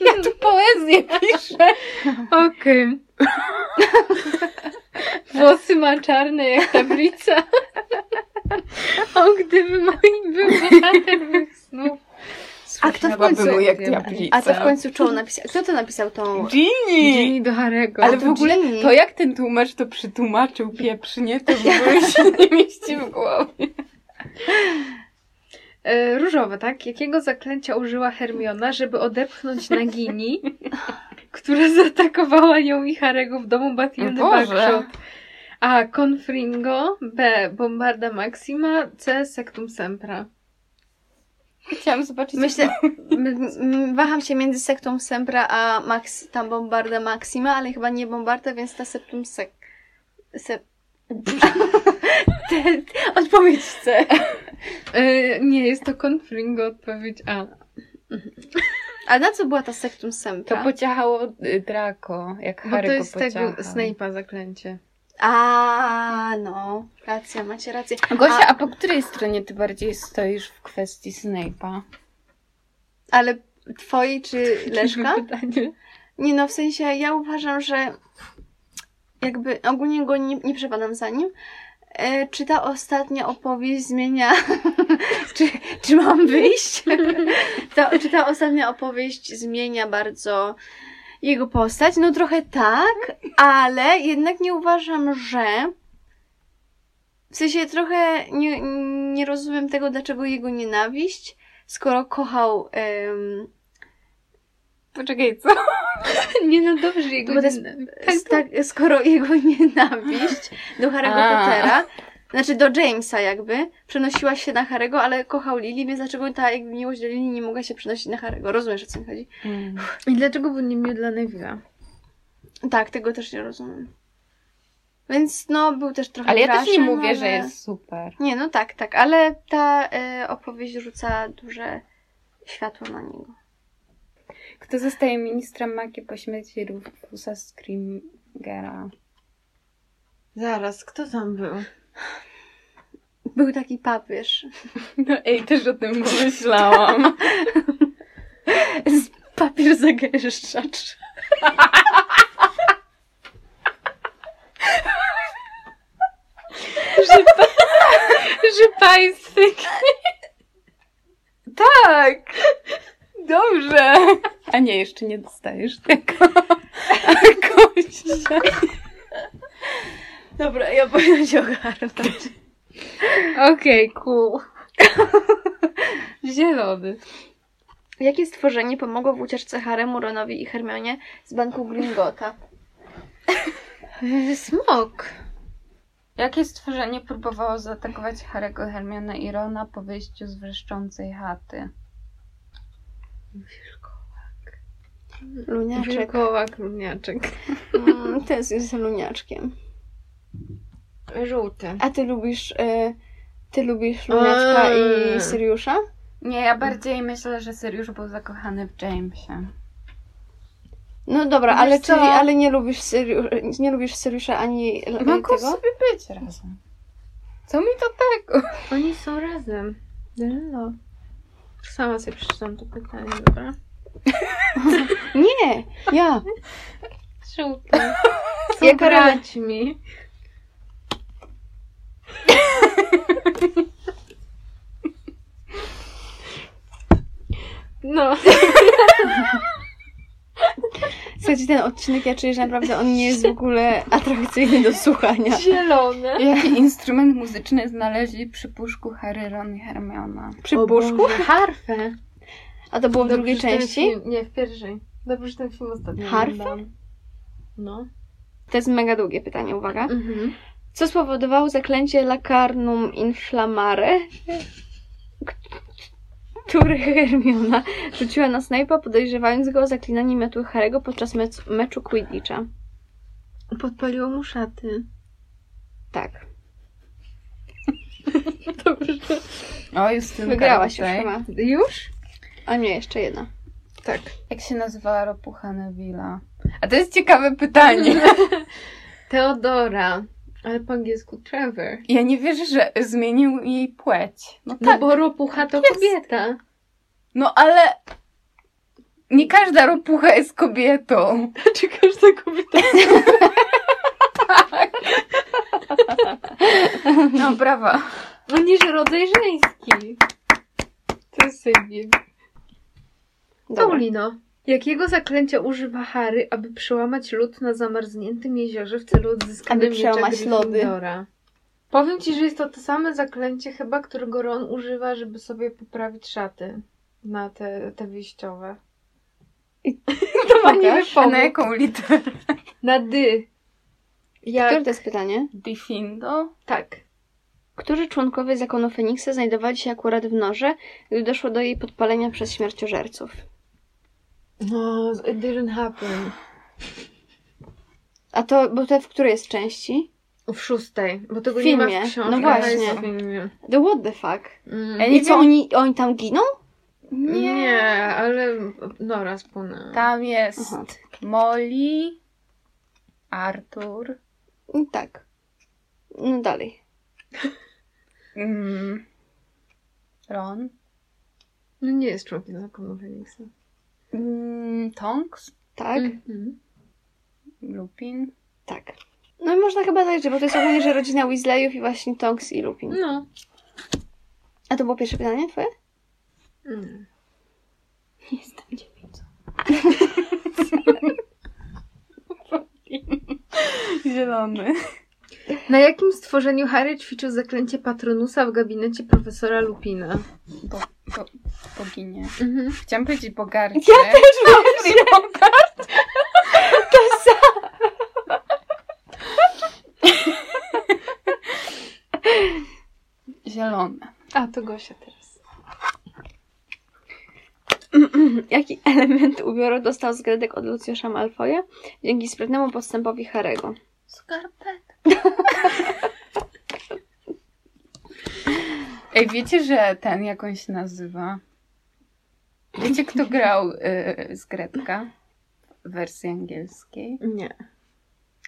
Speaker 1: ja tu poezję piszę.
Speaker 4: Okej. Włosy ma czarne
Speaker 1: (laughs)
Speaker 4: jak tablica. o, gdyby moim był bohater mych snów.
Speaker 2: A kto w końcu...
Speaker 4: Słyszałabym.
Speaker 1: jak
Speaker 4: wiem.
Speaker 1: diablica.
Speaker 2: A to w końcu czoło napisał... Kto to napisał tą...
Speaker 1: Ginny!
Speaker 4: Dzień do Harego.
Speaker 1: Ale
Speaker 2: to
Speaker 1: w ogóle
Speaker 2: Ginny.
Speaker 1: to jak ten tłumacz to przetłumaczył pieprznie, to w ogóle się nie mieści w głowie.
Speaker 4: E, różowe, tak? Jakiego zaklęcia użyła Hermiona, żeby odepchnąć Nagini, która zaatakowała ją i Harego w domu Batildy
Speaker 1: (laughs)
Speaker 2: No
Speaker 1: O Boże.
Speaker 4: Backshot? A. Confringo. B. Bombarda Maxima. C. Sectum Sempra.
Speaker 1: Chciałam zobaczyć.
Speaker 2: Myślę... m- m- Waham się między sektą Sempra a Max, tam Bombarda Maxima, ale chyba nie Bombarda, więc ta septum sek... Sep... (laughs) Te- te- Odpowiedź chcę.
Speaker 4: E, nie, jest to Confringo. Odpowiedź A.
Speaker 2: A na co była ta sektum
Speaker 1: To
Speaker 2: Sempra?
Speaker 1: pociechało y, Draco, jak
Speaker 4: Bo
Speaker 1: Harry
Speaker 4: to jest
Speaker 1: go
Speaker 4: tego
Speaker 1: pociechał.
Speaker 4: Snape'a zaklęcie.
Speaker 2: A, no, racja, macie rację.
Speaker 1: Gosia,
Speaker 2: A-
Speaker 1: a po której stronie ty bardziej stoisz w kwestii Snape'a?
Speaker 2: Ale twojej czy
Speaker 1: (laughs)
Speaker 2: Leszka?
Speaker 4: Pytanie.
Speaker 2: Nie no, w sensie ja uważam, że jakby ogólnie go nie, nie przepadam za nim. E, czy ta ostatnia opowieść zmienia... (laughs) czy, czy mam wyjść? (laughs) ta, czy ta ostatnia opowieść zmienia bardzo jego postać? No trochę tak, ale jednak nie uważam, że... W sensie trochę nie, nie rozumiem tego, dlaczego jego nienawiść, skoro kochał... em,
Speaker 1: Poczekaj,
Speaker 2: (laughs)
Speaker 1: co?
Speaker 4: Nie no, dobrze, jego
Speaker 2: Bo to jest-
Speaker 4: nie-
Speaker 2: tak, tak, skoro jego (laughs) nienawiść do Harry'ego
Speaker 1: A.
Speaker 2: Pottera, znaczy do Jamesa jakby, przenosiła się na Harry'ego, ale kochał Lily, więc dlaczego ta jakby miłość do Lily nie mogła się przenosić na Harry'ego? Rozumiesz, o co mi chodzi?
Speaker 4: I dlaczego był nie miły dla Neville'a?
Speaker 2: Tak, tego też nie rozumiem. Więc no, był też trochę
Speaker 1: Ale ja też nie
Speaker 2: trashem,
Speaker 1: mówię,
Speaker 2: ale...
Speaker 1: że jest super.
Speaker 2: Nie, no tak, tak, ale ta e, opowieść rzuca duże światło na niego.
Speaker 1: Kto zostaje ministrem magii po śmierci Rufusa Scrimgera?
Speaker 4: Zaraz, kto tam był?
Speaker 2: Był taki papież.
Speaker 1: No ej, też o tym pomyślałam.
Speaker 2: Papież zagęszczacz.
Speaker 4: Że państwo
Speaker 1: tak! Dobrze! A nie, jeszcze nie dostajesz tego. (laughs) Gościa.
Speaker 2: Dobra, ja powinna się ogarnąć.
Speaker 4: Okej, cool. Zielony.
Speaker 2: Jakie stworzenie pomogło w ucieczce Haremu, Ronowi i Hermionie z banku Gringota?
Speaker 4: E, Smok.
Speaker 1: Jakie stworzenie próbowało zaatakować Harry'ego, Hermiona i Rona po wyjściu z wrzeszczącej chaty?
Speaker 2: Luniaczek.
Speaker 4: Wilkołak, luniaczek.
Speaker 2: Mm, ten jest luniaczkiem.
Speaker 4: Żółty.
Speaker 2: A ty lubisz... Y, ty lubisz luniaczka
Speaker 4: Eee.
Speaker 2: i Syriusza?
Speaker 1: Nie, ja bardziej myślę, że Sirius był zakochany w Jamesie.
Speaker 2: No dobra,
Speaker 4: Wiesz
Speaker 2: ale
Speaker 4: co?
Speaker 2: czyli, ale nie lubisz, Syriu, nie lubisz Syriusza ani l-
Speaker 1: Mogą
Speaker 2: tego?
Speaker 1: sobie być razem. Co mi to tego?
Speaker 4: Oni są razem. No. Sama sobie przeczytam to pytanie, dobra?
Speaker 2: (laughs) Nie, ja.
Speaker 4: Żółty. Są
Speaker 2: Jako
Speaker 4: braćmi. No.
Speaker 2: Słuchajcie, ten odcinek, ja czuję, że naprawdę on nie jest w ogóle atrakcyjny do słuchania.
Speaker 4: Zielone.
Speaker 1: Jaki instrument muzyczny znaleźli przy puszku Harry, Ron i Hermiona?
Speaker 2: Przy
Speaker 4: O
Speaker 2: puszku?
Speaker 4: Boże, Harfę.
Speaker 2: A to było w
Speaker 4: Dobrze,
Speaker 2: drugiej
Speaker 4: że ten
Speaker 2: części?
Speaker 4: Film, nie, w pierwszej. Dobrze, że ten film ostatnio
Speaker 2: Harfę?
Speaker 4: oglądałam. No.
Speaker 2: To jest mega długie pytanie, uwaga.
Speaker 4: Mhm.
Speaker 2: Co spowodowało zaklęcie Lacarnum Inflammare? który Hermiona rzuciła na Snape'a, podejrzewając go o zaklinanie miotły Harry'ego podczas mec- meczu Quidditcha.
Speaker 4: Podpaliło mu szaty.
Speaker 2: Tak.
Speaker 1: O, Justynka.
Speaker 2: Wygrałaś już
Speaker 1: tutaj.
Speaker 2: chyba.
Speaker 4: Już?
Speaker 2: A nie, jeszcze jedna.
Speaker 4: Tak.
Speaker 1: Jak się nazywała ropucha Neville'a? A to jest ciekawe pytanie.
Speaker 4: Teodora. Ale po angielsku Trevor.
Speaker 1: (laughs) Ja nie wierzę, że zmienił jej płeć. No
Speaker 4: No
Speaker 1: tak.
Speaker 4: bo ropucha to
Speaker 1: Jest.
Speaker 2: (laughs)
Speaker 4: kobieta.
Speaker 1: No ale nie każda ropucha jest kobietą.
Speaker 4: Czy każda kobieta?
Speaker 1: No brawa.
Speaker 4: No nie, że rodzaj żeński. To jest sejbie.
Speaker 2: Dobra.
Speaker 4: Paulino, jakiego zaklęcia używa Harry, aby przełamać lód na zamarzniętym jeziorze w celu odzyskania
Speaker 2: Aby
Speaker 4: miecza
Speaker 2: przełamać lody.
Speaker 4: Gryffindora? Powiem ci, że jest to to samo zaklęcie chyba, którego Ron używa, żeby sobie poprawić szaty na te, te wyjściowe. (laughs) to ma niby
Speaker 1: A
Speaker 4: pomóc.
Speaker 1: na jaką literę?
Speaker 4: Na dy.
Speaker 2: Które
Speaker 4: Jak?
Speaker 2: to jest pytanie?
Speaker 1: Diffindo?
Speaker 4: Tak.
Speaker 2: Którzy członkowie zakonu Feniksa znajdowali się akurat w norze, gdy doszło do jej podpalenia przez śmierciożerców?
Speaker 4: No, it didn't happen.
Speaker 2: A to, bo te w której jest części?
Speaker 4: W szóstej, bo tego
Speaker 2: W
Speaker 4: nie ma
Speaker 2: filmie.
Speaker 4: w książkach.
Speaker 2: No
Speaker 4: ale
Speaker 2: właśnie.
Speaker 4: jest w filmie.
Speaker 2: The what the fuck?
Speaker 4: Mm.
Speaker 1: Ja nie
Speaker 2: I co,
Speaker 1: wiem.
Speaker 2: oni, oni tam giną?
Speaker 4: Nie. Tak. ale no, Nora spłynęła.
Speaker 1: Tam jest
Speaker 2: Aha.
Speaker 1: Molly, Artur.
Speaker 2: No Tak. No dalej.
Speaker 1: Mm. Ron.
Speaker 4: No nie jest członkiem zakonu Feniksa.
Speaker 1: Mm, Tonks.
Speaker 2: Tak?
Speaker 4: Mhm.
Speaker 1: Lupin.
Speaker 2: Tak. No i można chyba zajrzeć, bo to jest ogólnie, że rodzina Weasleyów i właśnie Tonks i Lupin.
Speaker 4: No.
Speaker 2: A to było pierwsze pytanie
Speaker 4: (laughs)
Speaker 2: twoje?
Speaker 4: Mm.
Speaker 2: Jestem
Speaker 4: (laughs)
Speaker 2: dziewicą.
Speaker 1: Zielony.
Speaker 4: Na jakim stworzeniu Harry ćwiczył zaklęcie Patronusa w gabinecie profesora Lupina?
Speaker 1: Bo, bo, boginie.
Speaker 4: Mhm.
Speaker 1: Chciałam powiedzieć bogarcie.
Speaker 2: Ja
Speaker 1: też
Speaker 2: (laughs)
Speaker 1: bogart. To samo. Zielone.
Speaker 4: A, to Gosia teraz.
Speaker 2: Jaki element ubioru dostał zgredek od Luciusza Malfoya dzięki sprytnemu podstępowi Harego?
Speaker 1: Skarpet. (laughs) Ej, wiecie, że ten, jak on się nazywa? Wiecie, kto grał y, z Gretka w wersji angielskiej?
Speaker 4: Nie.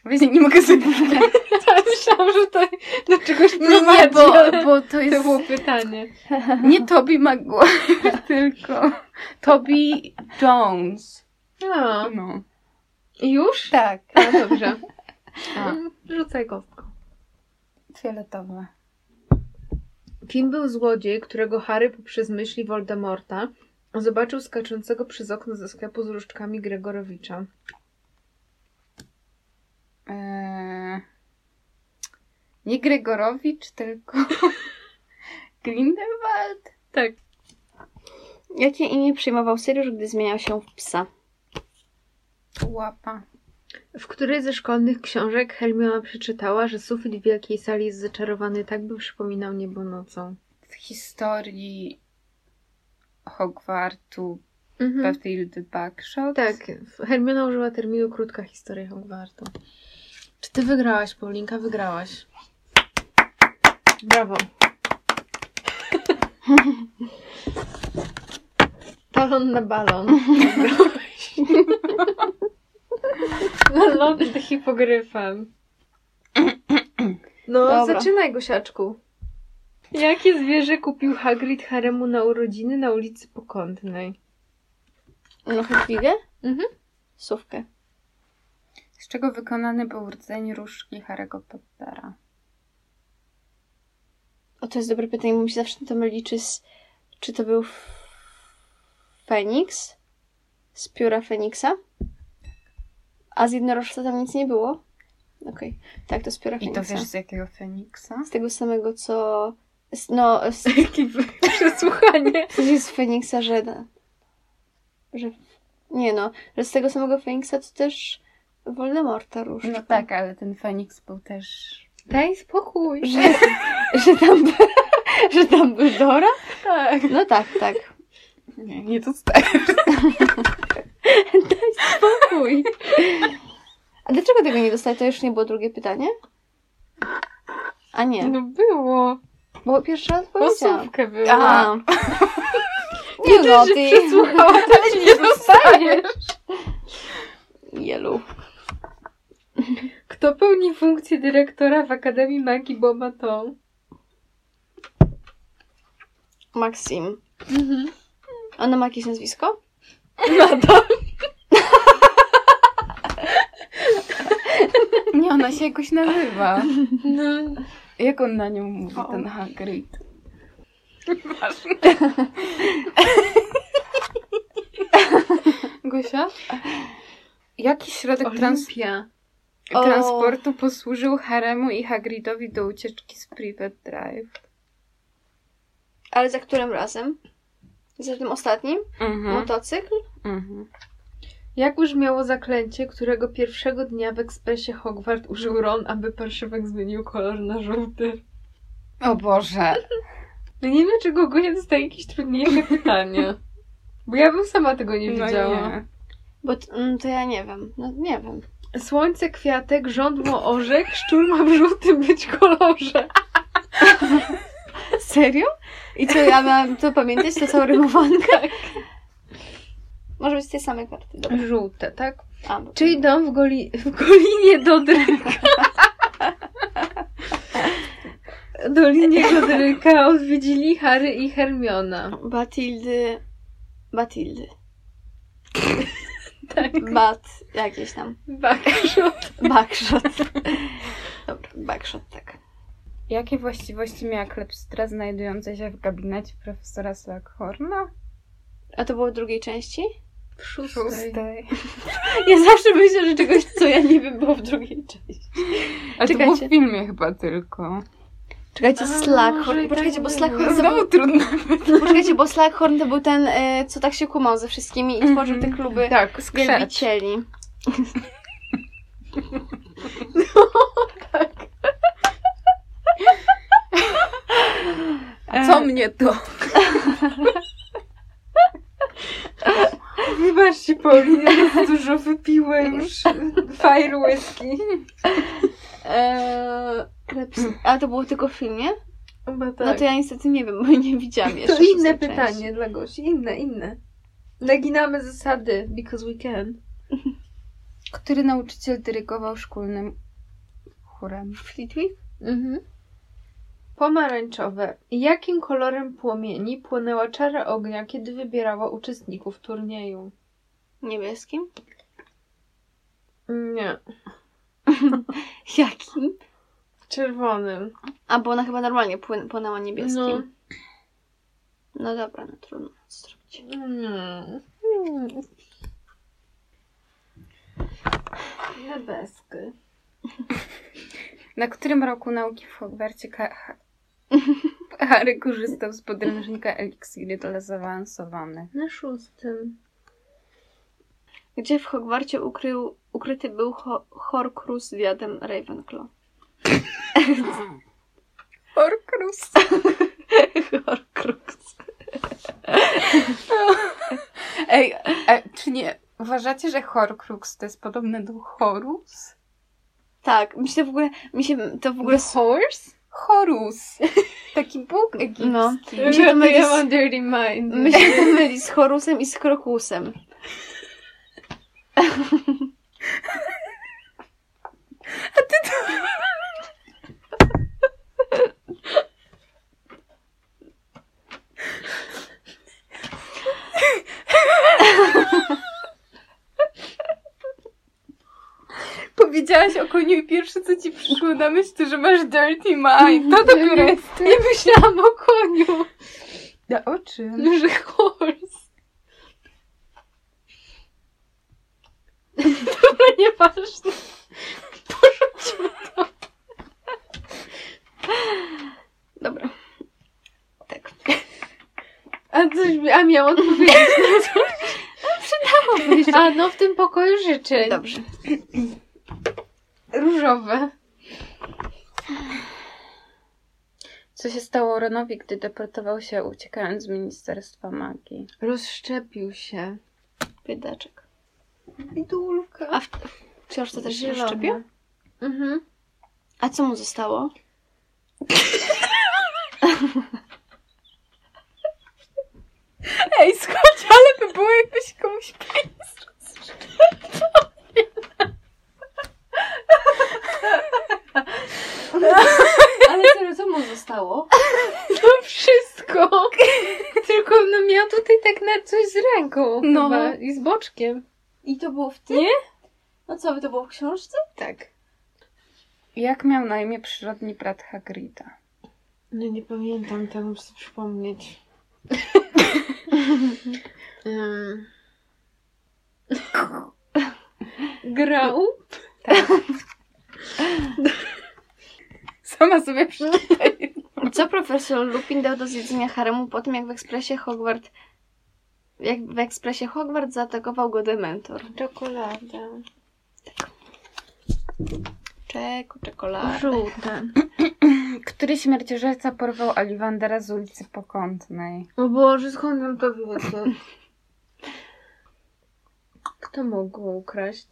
Speaker 1: Właśnie nie mogę
Speaker 2: (laughs)
Speaker 1: sobie powiedzieć.
Speaker 2: Tak,
Speaker 4: Myślałam, że to do czegoś
Speaker 1: No Nie, bo, bo to
Speaker 4: To
Speaker 1: jest...
Speaker 4: było pytanie.
Speaker 1: Nie Toby Maguire, (laughs) tylko Toby Jones.
Speaker 4: No.
Speaker 1: No.
Speaker 4: Już?
Speaker 1: Tak.
Speaker 4: A, dobrze.
Speaker 1: A.
Speaker 4: Rzucaj kostką.
Speaker 1: Fioletowe.
Speaker 4: Kim był złodziej, którego Harry poprzez myśli Voldemorta zobaczył skaczącego przez okno ze sklepu z różdżkami Gregorowicza?
Speaker 1: Eee, nie Gregorowicz, tylko (laughs) Grindelwald.
Speaker 4: Tak.
Speaker 2: Jakie imię przyjmował Sirius, gdy zmieniał się w psa?
Speaker 1: Łapa.
Speaker 4: W której ze szkolnych książek Hermiona przeczytała, że sufit wielkiej sali jest zaczarowany tak, by przypominał niebo nocą?
Speaker 1: W historii Hogwartu
Speaker 4: Mhm.
Speaker 1: Bathilde Buckshot.
Speaker 4: Tak, Hermiona użyła terminu krótka historia Hogwartu. Czy ty wygrałaś, Paulinka? Wygrałaś. Brawo. (laughs) Balon na balon. Wygrałaś. (laughs) na lody z hipogryfem. No,
Speaker 2: Dobra.
Speaker 4: zaczynaj, Gosiaczku. Jakie zwierzę kupił Hagrid Haremu na urodziny na ulicy Pokątnej?
Speaker 2: No Hedwigę?
Speaker 4: Mhm.
Speaker 2: Sówkę.
Speaker 1: Z czego wykonany był rdzeń różdżki Harry'ego Pottera.
Speaker 2: O, to jest dobre pytanie, bo mi się zawsze to myli, czy, z, czy to był f... Feniks? Z pióra Feniksa? A z jednorożca tam nic nie było? Okej, tak, to z pióra
Speaker 1: I
Speaker 2: Feniksa.
Speaker 1: to wiesz z jakiego Feniksa?
Speaker 2: Z tego samego, co... z- No, z,
Speaker 4: (laughs)
Speaker 2: (laughs)
Speaker 4: Jakie przesłuchanie.
Speaker 2: coś jest z Feniksa, że... że... Nie no, że z tego samego Feniksa to też Voldemorta różdżka.
Speaker 1: No tak, ale ten Feniks był też...
Speaker 4: Daj spokój.
Speaker 2: (laughs) Że, że tam... by- że tam był Dora?
Speaker 4: Tak.
Speaker 2: No tak, tak.
Speaker 4: Nie, nie dostajesz.
Speaker 2: Chuj. A dlaczego tego nie dostać? To już nie było drugie pytanie? A nie,
Speaker 4: No było.
Speaker 2: bo pierwsza odpowiedziałam.
Speaker 4: Posówkę była.
Speaker 2: A.
Speaker 4: Nie,
Speaker 2: (laughs) Nie no,
Speaker 4: że się
Speaker 2: ty.
Speaker 4: przesłuchała,
Speaker 2: (laughs)
Speaker 4: ale nie dostajesz.
Speaker 2: Jelu.
Speaker 4: Kto pełni funkcję dyrektora w Akademii Magii Boba Tom?
Speaker 2: Maxim.
Speaker 4: Mhm.
Speaker 2: Ona ma jakieś nazwisko?
Speaker 1: Nie, ona się jakoś nazywa.
Speaker 4: No.
Speaker 1: Jak on na nią mówi,
Speaker 2: O.
Speaker 1: ten Hagrid? Gosia? Jaki środek trans-
Speaker 4: Olimpia.
Speaker 2: O.
Speaker 1: transportu posłużył Haremu i Hagridowi do ucieczki z Privet Drive?
Speaker 2: Ale za którym razem? Za tym ostatnim?
Speaker 1: Mhm.
Speaker 2: Motocykl?
Speaker 1: mhm.
Speaker 4: Jak brzmiało zaklęcie, którego pierwszego dnia w ekspresie Hogwart użył Ron, aby parszywek zmienił kolor na żółty?
Speaker 1: O Boże.
Speaker 4: No nie wiem, dlaczego Gosia dostaje jakieś trudniejsze pytania. Bo ja bym sama tego nie
Speaker 1: No
Speaker 4: widziała.
Speaker 1: nie.
Speaker 2: Bo t- mm, to ja nie wiem. No nie wiem.
Speaker 4: Słońce, kwiatek, żądło, orzech, szczur ma w żółtym być kolorze.
Speaker 2: Serio? I co, ja mam to pamiętać, to całą rymowankę? Może być z tej samej karty, dobra.
Speaker 4: Żółte, tak?
Speaker 2: A, bo-
Speaker 4: Czyj dom w, goli... w Golinie Dodryka? Dolinie Dodryka odwiedzili Harry i Hermiona.
Speaker 2: Batildy... (laughs) Batildy.
Speaker 4: Tak.
Speaker 2: Bat... jakieś tam.
Speaker 4: Backshot.
Speaker 2: Backshot. Dobra, backshot, tak.
Speaker 1: Jakie właściwości miała klepsydra znajdująca się w gabinecie profesora Slughorna?
Speaker 2: A to było w drugiej części?
Speaker 4: W szóstej.
Speaker 2: Tak, Ja zawsze myślę, że czegoś, co ja nie wiem, było w drugiej części.
Speaker 1: Ale to było
Speaker 2: Czekajcie.
Speaker 1: w filmie chyba tylko.
Speaker 2: Czekajcie,
Speaker 4: A, może
Speaker 2: Slughorn.
Speaker 4: i
Speaker 2: Poczekajcie,
Speaker 4: tak
Speaker 2: bo
Speaker 4: było.
Speaker 2: Slughorn to
Speaker 1: Znowu
Speaker 2: był...
Speaker 1: trudno.
Speaker 2: (laughs) Poczekajcie, bo Slughorn to był ten, e, co tak się kumał ze wszystkimi i tworzył te kluby
Speaker 1: Tak, skrzecz.
Speaker 2: wielbicieli. No
Speaker 1: A co mnie to?
Speaker 4: Wybaczcie, Paulina, ja dużo wypiłem już. Fire whisky.
Speaker 2: Eee, klepsy- A to było tylko w filmie?
Speaker 4: Chyba
Speaker 2: No
Speaker 4: tak.
Speaker 2: to ja niestety nie wiem, bo nie widziałam jeszcze.
Speaker 4: To inne
Speaker 2: szóstej
Speaker 4: pytanie
Speaker 2: części.
Speaker 4: dla Gosi, inne, inne. Naginamy zasady, because we can.
Speaker 1: Który nauczyciel dyrygował szkolnym chórem?
Speaker 2: Flitwick?
Speaker 4: Mhm. Pomarańczowe. Jakim kolorem płomieni płonęła czara ognia, kiedy wybierała uczestników turnieju?
Speaker 2: Niebieskim?
Speaker 4: Nie.
Speaker 2: Jakim?
Speaker 4: Czerwonym.
Speaker 2: A, bo ona chyba normalnie płyn- płynęła niebieskim.
Speaker 4: No.
Speaker 2: No. dobra, no trudno co zrobić.
Speaker 4: Mm. Niebeskie.
Speaker 1: Na którym roku nauki w Hogwarcie Ka- Ha- Harry korzystał z podręcznika eliksiry dla zaawansowanych?
Speaker 4: Na szóstym.
Speaker 2: Gdzie w Hogwarcie ukrył, ukryty był ho- Horcrux z diadem Ravenclaw?
Speaker 1: Horcrux. (laughs)
Speaker 2: Horcrux.
Speaker 1: Ej, e, czy nie? Uważacie, że Horcrux to jest podobne do Horus?
Speaker 2: Tak, mi się to w ogóle, mi się to w ogóle...
Speaker 4: horse?
Speaker 1: Horus! Taki bóg (laughs) egipski.
Speaker 2: No.
Speaker 4: Mi
Speaker 2: się to myli
Speaker 4: ja
Speaker 2: z-
Speaker 4: mam dirty mind.
Speaker 2: My się to myli z Horusem i z Krokusem.
Speaker 1: Powiedziałaś o koniu i pierwsze co ci przyszło na myśl to, że masz dirty mind. To dopiero jest.
Speaker 4: Nie myślałam o koniu.
Speaker 1: Na oczy.
Speaker 4: Że horse. Dobra, nieważne.
Speaker 2: Dobra. Tak.
Speaker 4: A coś, a miałam odpowiedzieć.
Speaker 2: Przydałoby się.
Speaker 4: A no, w tym pokoju życzeń.
Speaker 2: Dobrze.
Speaker 4: Różowe.
Speaker 1: Co się stało Ronowi, gdy deportował się uciekając z Ministerstwa Magii?
Speaker 4: Rozszczepił się.
Speaker 2: Biedaczek.
Speaker 4: Bidulka.
Speaker 2: A w w książce też się
Speaker 4: Zielona.
Speaker 2: szczepił?
Speaker 4: Mhm.
Speaker 2: A co mu zostało?
Speaker 4: Ej, skocz, ale by było jakbyś komuś
Speaker 2: Ale co, co mu zostało?
Speaker 4: To wszystko. (laughs) Tylko no miał tutaj tak na coś z ręką.
Speaker 1: No.
Speaker 4: No. Chyba. I z boczkiem.
Speaker 2: I to było w tym?
Speaker 4: Nie?
Speaker 2: No co, to było w książce?
Speaker 4: Tak.
Speaker 1: Jak miał na imię przyrodni brat Hagrida?
Speaker 4: No nie pamiętam, to muszę sobie
Speaker 2: (laughs)
Speaker 4: przypomnieć. Ym. Grał? (laughs)
Speaker 1: Sama sobie przeczytaj.
Speaker 2: Co profesor Lupin dał do zjedzenia haremu po tym, jak w ekspresie Hogwart... Jak w ekspresie Hogwart zaatakował go dementor?
Speaker 4: Czekolada.
Speaker 2: Czeku, czekolada.
Speaker 4: Żółte.
Speaker 1: Który śmierciożerca porwał Aliwandera z ulicy Pokątnej?
Speaker 4: O Boże, skąd nam to wiecie?
Speaker 2: (laughs)
Speaker 4: Kto mógł go ukraść?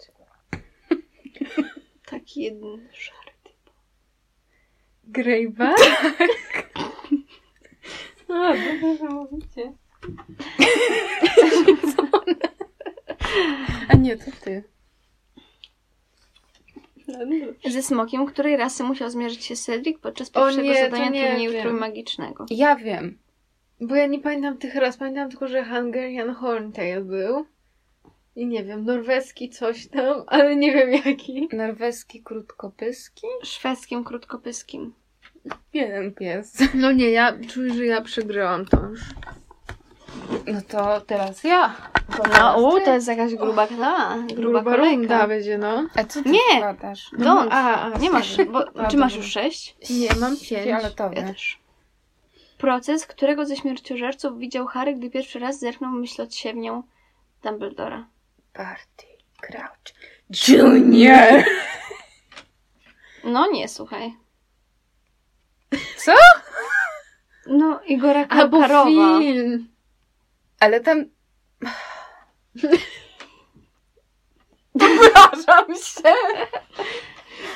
Speaker 2: Taki jeden szary typ.
Speaker 4: Grejba? A, dobrze, że mówicie. A nie, to ty.
Speaker 2: Ze smokiem, której rasy musiał zmierzyć się Cedric podczas
Speaker 4: O
Speaker 2: pierwszego
Speaker 4: nie, to
Speaker 2: zadania
Speaker 4: nie
Speaker 2: turnieju
Speaker 4: wiem.
Speaker 2: trójmagicznego.
Speaker 1: Ja wiem.
Speaker 4: Bo ja nie pamiętam tych raz, pamiętam tylko, że Hungarian Horntail był. I nie wiem, norweski coś tam, (laughs) ale nie wiem jaki.
Speaker 1: Norweski krótkopyski?
Speaker 2: Szwedzkim krótkopyskim.
Speaker 1: Jeden pies.
Speaker 4: No nie, ja czuję, że ja przegrałam to już.
Speaker 1: No to teraz ja. Bo
Speaker 2: No,
Speaker 1: teraz
Speaker 2: u,
Speaker 1: ty.
Speaker 2: to jest jakaś gruba, na, gruba,
Speaker 4: Gruba
Speaker 2: kolejka. No,
Speaker 4: runda będzie, no.
Speaker 1: A co ty
Speaker 2: Nie.
Speaker 1: składasz?
Speaker 2: Don't.
Speaker 4: A, a,
Speaker 2: Nie masz, bo, (laughs)
Speaker 4: A,
Speaker 2: czy masz
Speaker 4: dobra.
Speaker 2: już sześć?
Speaker 4: Nie, mam pięć.
Speaker 2: Ja
Speaker 1: Fioletowy.
Speaker 2: też. Proces, którego ze śmierciożerców widział Harry, gdy pierwszy raz zerknął myślociewnią Dumbledora.
Speaker 1: Party Crouch
Speaker 4: (laughs)
Speaker 1: Junior.
Speaker 2: No nie, słuchaj.
Speaker 1: Co?
Speaker 2: No, Igora
Speaker 4: Albo
Speaker 2: Karowa.
Speaker 4: film.
Speaker 1: Ale tam... (laughs) Przepraszam się.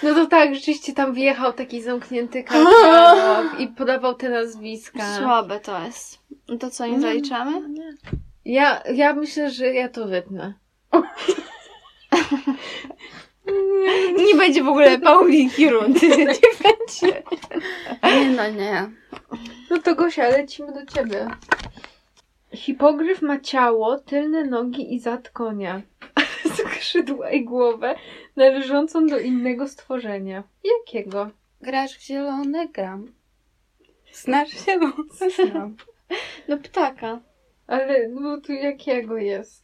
Speaker 4: No to tak, rzeczywiście tam wjechał taki zamknięty katalog i podawał te nazwiska.
Speaker 2: Słabe to jest. No To co, nie
Speaker 4: Mm.
Speaker 2: zaliczamy?
Speaker 4: Ja, ja myślę, że ja to wytnę. (laughs)
Speaker 2: Nie będzie w ogóle Paulinki
Speaker 4: (laughs)
Speaker 2: rundy. Nie będzie.
Speaker 1: Nie, no nie.
Speaker 4: No to Gosia, lecimy do ciebie. Hipogryf ma ciało, tylne nogi i zad konia, (laughs) skrzydła i głowę należącą do innego stworzenia. (laughs) Jakiego?
Speaker 1: Grasz w zielone, gram. Znasz się mocno.
Speaker 2: No ptaka.
Speaker 4: Ale no tu jakiego jest?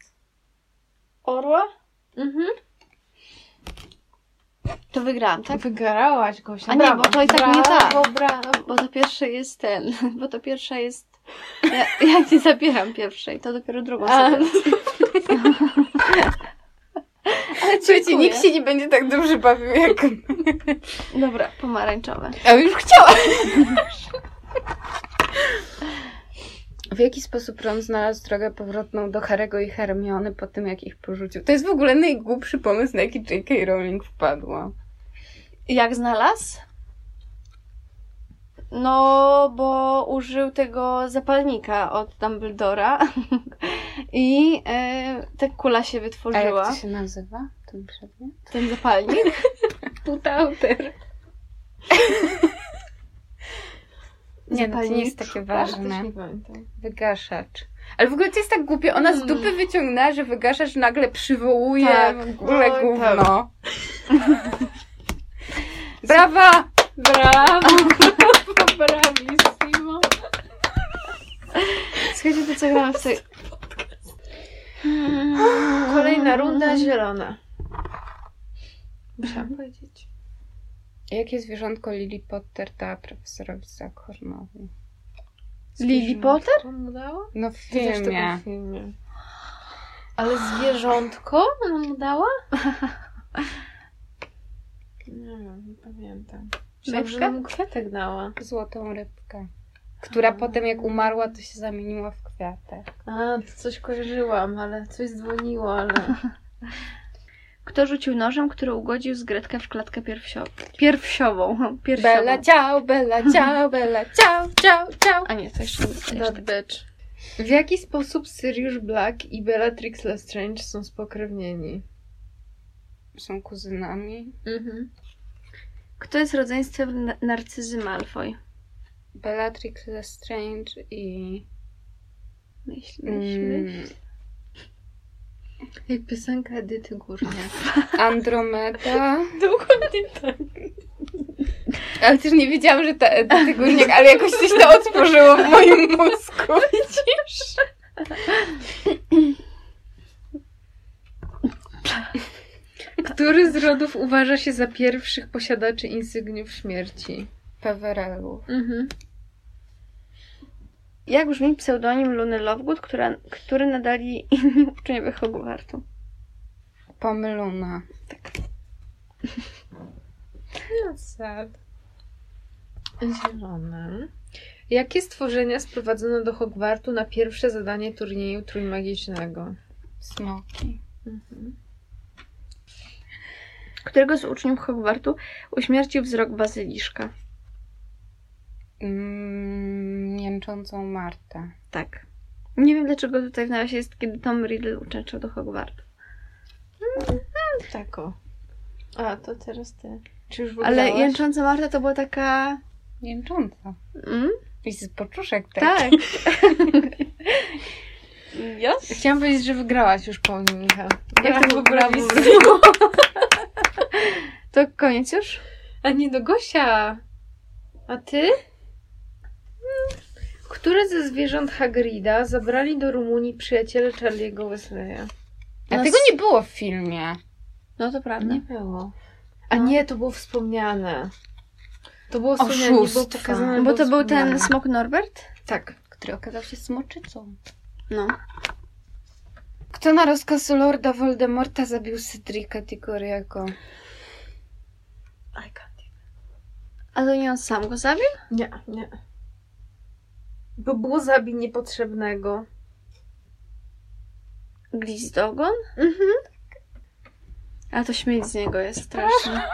Speaker 2: Orła?
Speaker 4: Mhm.
Speaker 2: To wygrałam, tak?
Speaker 4: Wygarałaś Gosia.
Speaker 2: A nie,
Speaker 4: brawo,
Speaker 2: bo to i tak
Speaker 4: brawo,
Speaker 2: nie tak.
Speaker 4: Brawo.
Speaker 2: Bo to pierwsze jest ten. (laughs) Bo to pierwsza jest... Ja, ja nie zabieram pierwszej, to dopiero drugą
Speaker 4: A,
Speaker 2: sobie. Ale
Speaker 1: Słuchajcie,
Speaker 2: dziękuję.
Speaker 1: nikt się nie będzie tak dobrze bawił jak...
Speaker 2: Dobra, pomarańczowe.
Speaker 1: A już chciałam. W jaki sposób Ron znalazł drogę powrotną do Harego i Hermiony po tym, jak ich porzucił? To jest w ogóle najgłupszy pomysł, na jaki J.K. Rowling wpadła.
Speaker 2: Jak znalazł? No, bo użył tego zapalnika od Dumbledora (laughs) i e, tak kula się
Speaker 1: A jak
Speaker 2: wytworzyła,
Speaker 1: to się nazywa? Ten przedmiot?
Speaker 2: ten zapalnik.
Speaker 1: Putauter. Nie, no to nie jest takie
Speaker 4: Też
Speaker 1: ważne.
Speaker 4: nie tak. pamiętam.
Speaker 1: Wygaszacz. Ale w ogóle to jest tak głupie. Ona z dupy wyciągnęła, że wygaszacz nagle przywołuje
Speaker 2: Tak.
Speaker 1: w ogóle
Speaker 4: Oj,
Speaker 1: gówno. (laughs) Brawa!
Speaker 4: Brawo, brawo, brawissimo.
Speaker 2: Słuchajcie, to co grałam w tej...
Speaker 4: Kolejna runda zielona.
Speaker 1: Mhm.
Speaker 4: Musiałam powiedzieć.
Speaker 1: Jakie zwierzątko Lily Potter dała profesorowi Zakornowi?
Speaker 2: Lily Potter?
Speaker 4: Komu dała?
Speaker 1: No w
Speaker 4: Ty też to był
Speaker 1: filmie.
Speaker 4: w filmie. Ale zwierzątko ona mu dała? Nie wiem, nie pamiętam. Myślę, mu kwiatek dała.
Speaker 1: Złotą rybkę. Która potem jak umarła, to się zamieniła w kwiatę.
Speaker 4: A, to coś kojarzyłam, ale coś dzwoniło, ale...
Speaker 2: (laughs) Kto rzucił nożem, który ugodził z Gretkę w klatkę piersiową? Piersiową. (laughs) piersiową.
Speaker 1: Bela ciao, bela ciao, bela ciao, ciao, ciao.
Speaker 2: A nie, to jeszcze nie. to
Speaker 4: That
Speaker 2: jeszcze-
Speaker 4: bitch. W jaki sposób Sirius Black i Bellatrix Lestrange są spokrewnieni?
Speaker 1: Są kuzynami.
Speaker 4: Mhm.
Speaker 2: Kto jest rodzeństwem na- Narcyzy Malfoy?
Speaker 1: Bellatrix Lestrange i...
Speaker 2: Myśl, myśl, myśl.
Speaker 1: Mm,
Speaker 4: Jak piosenka Edyty
Speaker 1: (laughs)
Speaker 4: Górniak.
Speaker 1: Andromeda.
Speaker 4: Dokładnie tak.
Speaker 1: Ale też nie wiedziałam, że ta Edyty Górniak, ale jakoś coś to otworzyło w (laughs) moim mózgu. Widzisz?
Speaker 4: Który z rodów uważa się za pierwszych posiadaczy insygniów śmierci?
Speaker 1: Pewerelu.
Speaker 4: Mhm.
Speaker 2: Jak brzmi pseudonim Luny Lovegood, która, który nadali (laughs) inni uczniowie Hogwartu?
Speaker 1: Pomylona.
Speaker 4: Sad. Zielone. Jakie stworzenia sprowadzono do Hogwartu na pierwsze zadanie turnieju trójmagicznego?
Speaker 1: Smoki.
Speaker 4: Mhm.
Speaker 2: Którego z uczniów Hogwartu uśmiercił wzrok bazyliszka?
Speaker 1: Mm, jęczącą Martę.
Speaker 2: Tak. Nie wiem, dlaczego tutaj w nawiasie jest, kiedy Tom Riddle uczęszczał do Hogwartu.
Speaker 4: Mm, Tako. tak, A, to teraz ty. Czy już
Speaker 2: Ale
Speaker 4: wygrałaś?
Speaker 2: jęcząca Marta to była taka...
Speaker 1: Jęcząca.
Speaker 2: Mm?
Speaker 1: I z poczuszek tak.
Speaker 2: Tak.
Speaker 4: (laughs)
Speaker 2: Jos?
Speaker 4: Chciałam powiedzieć, że wygrałaś już po nim, Michał.
Speaker 2: Jak to
Speaker 4: Brawo,
Speaker 2: było brawo,
Speaker 4: brawo.
Speaker 2: brawo. To koniec już?
Speaker 4: A nie do Gosia. A ty? Mm. Które ze zwierząt Hagrida zabrali do Rumunii przyjaciele Charlie'ego Wesleya?
Speaker 1: A
Speaker 2: Nas-
Speaker 1: tego nie było w filmie.
Speaker 2: No to prawda.
Speaker 4: Nie było. A
Speaker 2: No.
Speaker 4: nie, to było wspomniane. To było
Speaker 1: Oszustwa.
Speaker 4: wspomniane, nie było pokazane.
Speaker 2: No Bo
Speaker 4: było
Speaker 2: to był ten
Speaker 4: wspomniane.
Speaker 2: smok Norbert?
Speaker 4: Tak.
Speaker 1: Który okazał się smoczycą.
Speaker 2: No.
Speaker 1: Kto na rozkaz Lorda Voldemorta zabił Cedrica Diggory'ego?
Speaker 2: A to nie on sam go zabił?
Speaker 4: Nie, nie. Bo było zabić niepotrzebnego.
Speaker 2: Glizdogon?
Speaker 4: Mhm.
Speaker 2: A to śmieć z niego jest straszny. (laughs)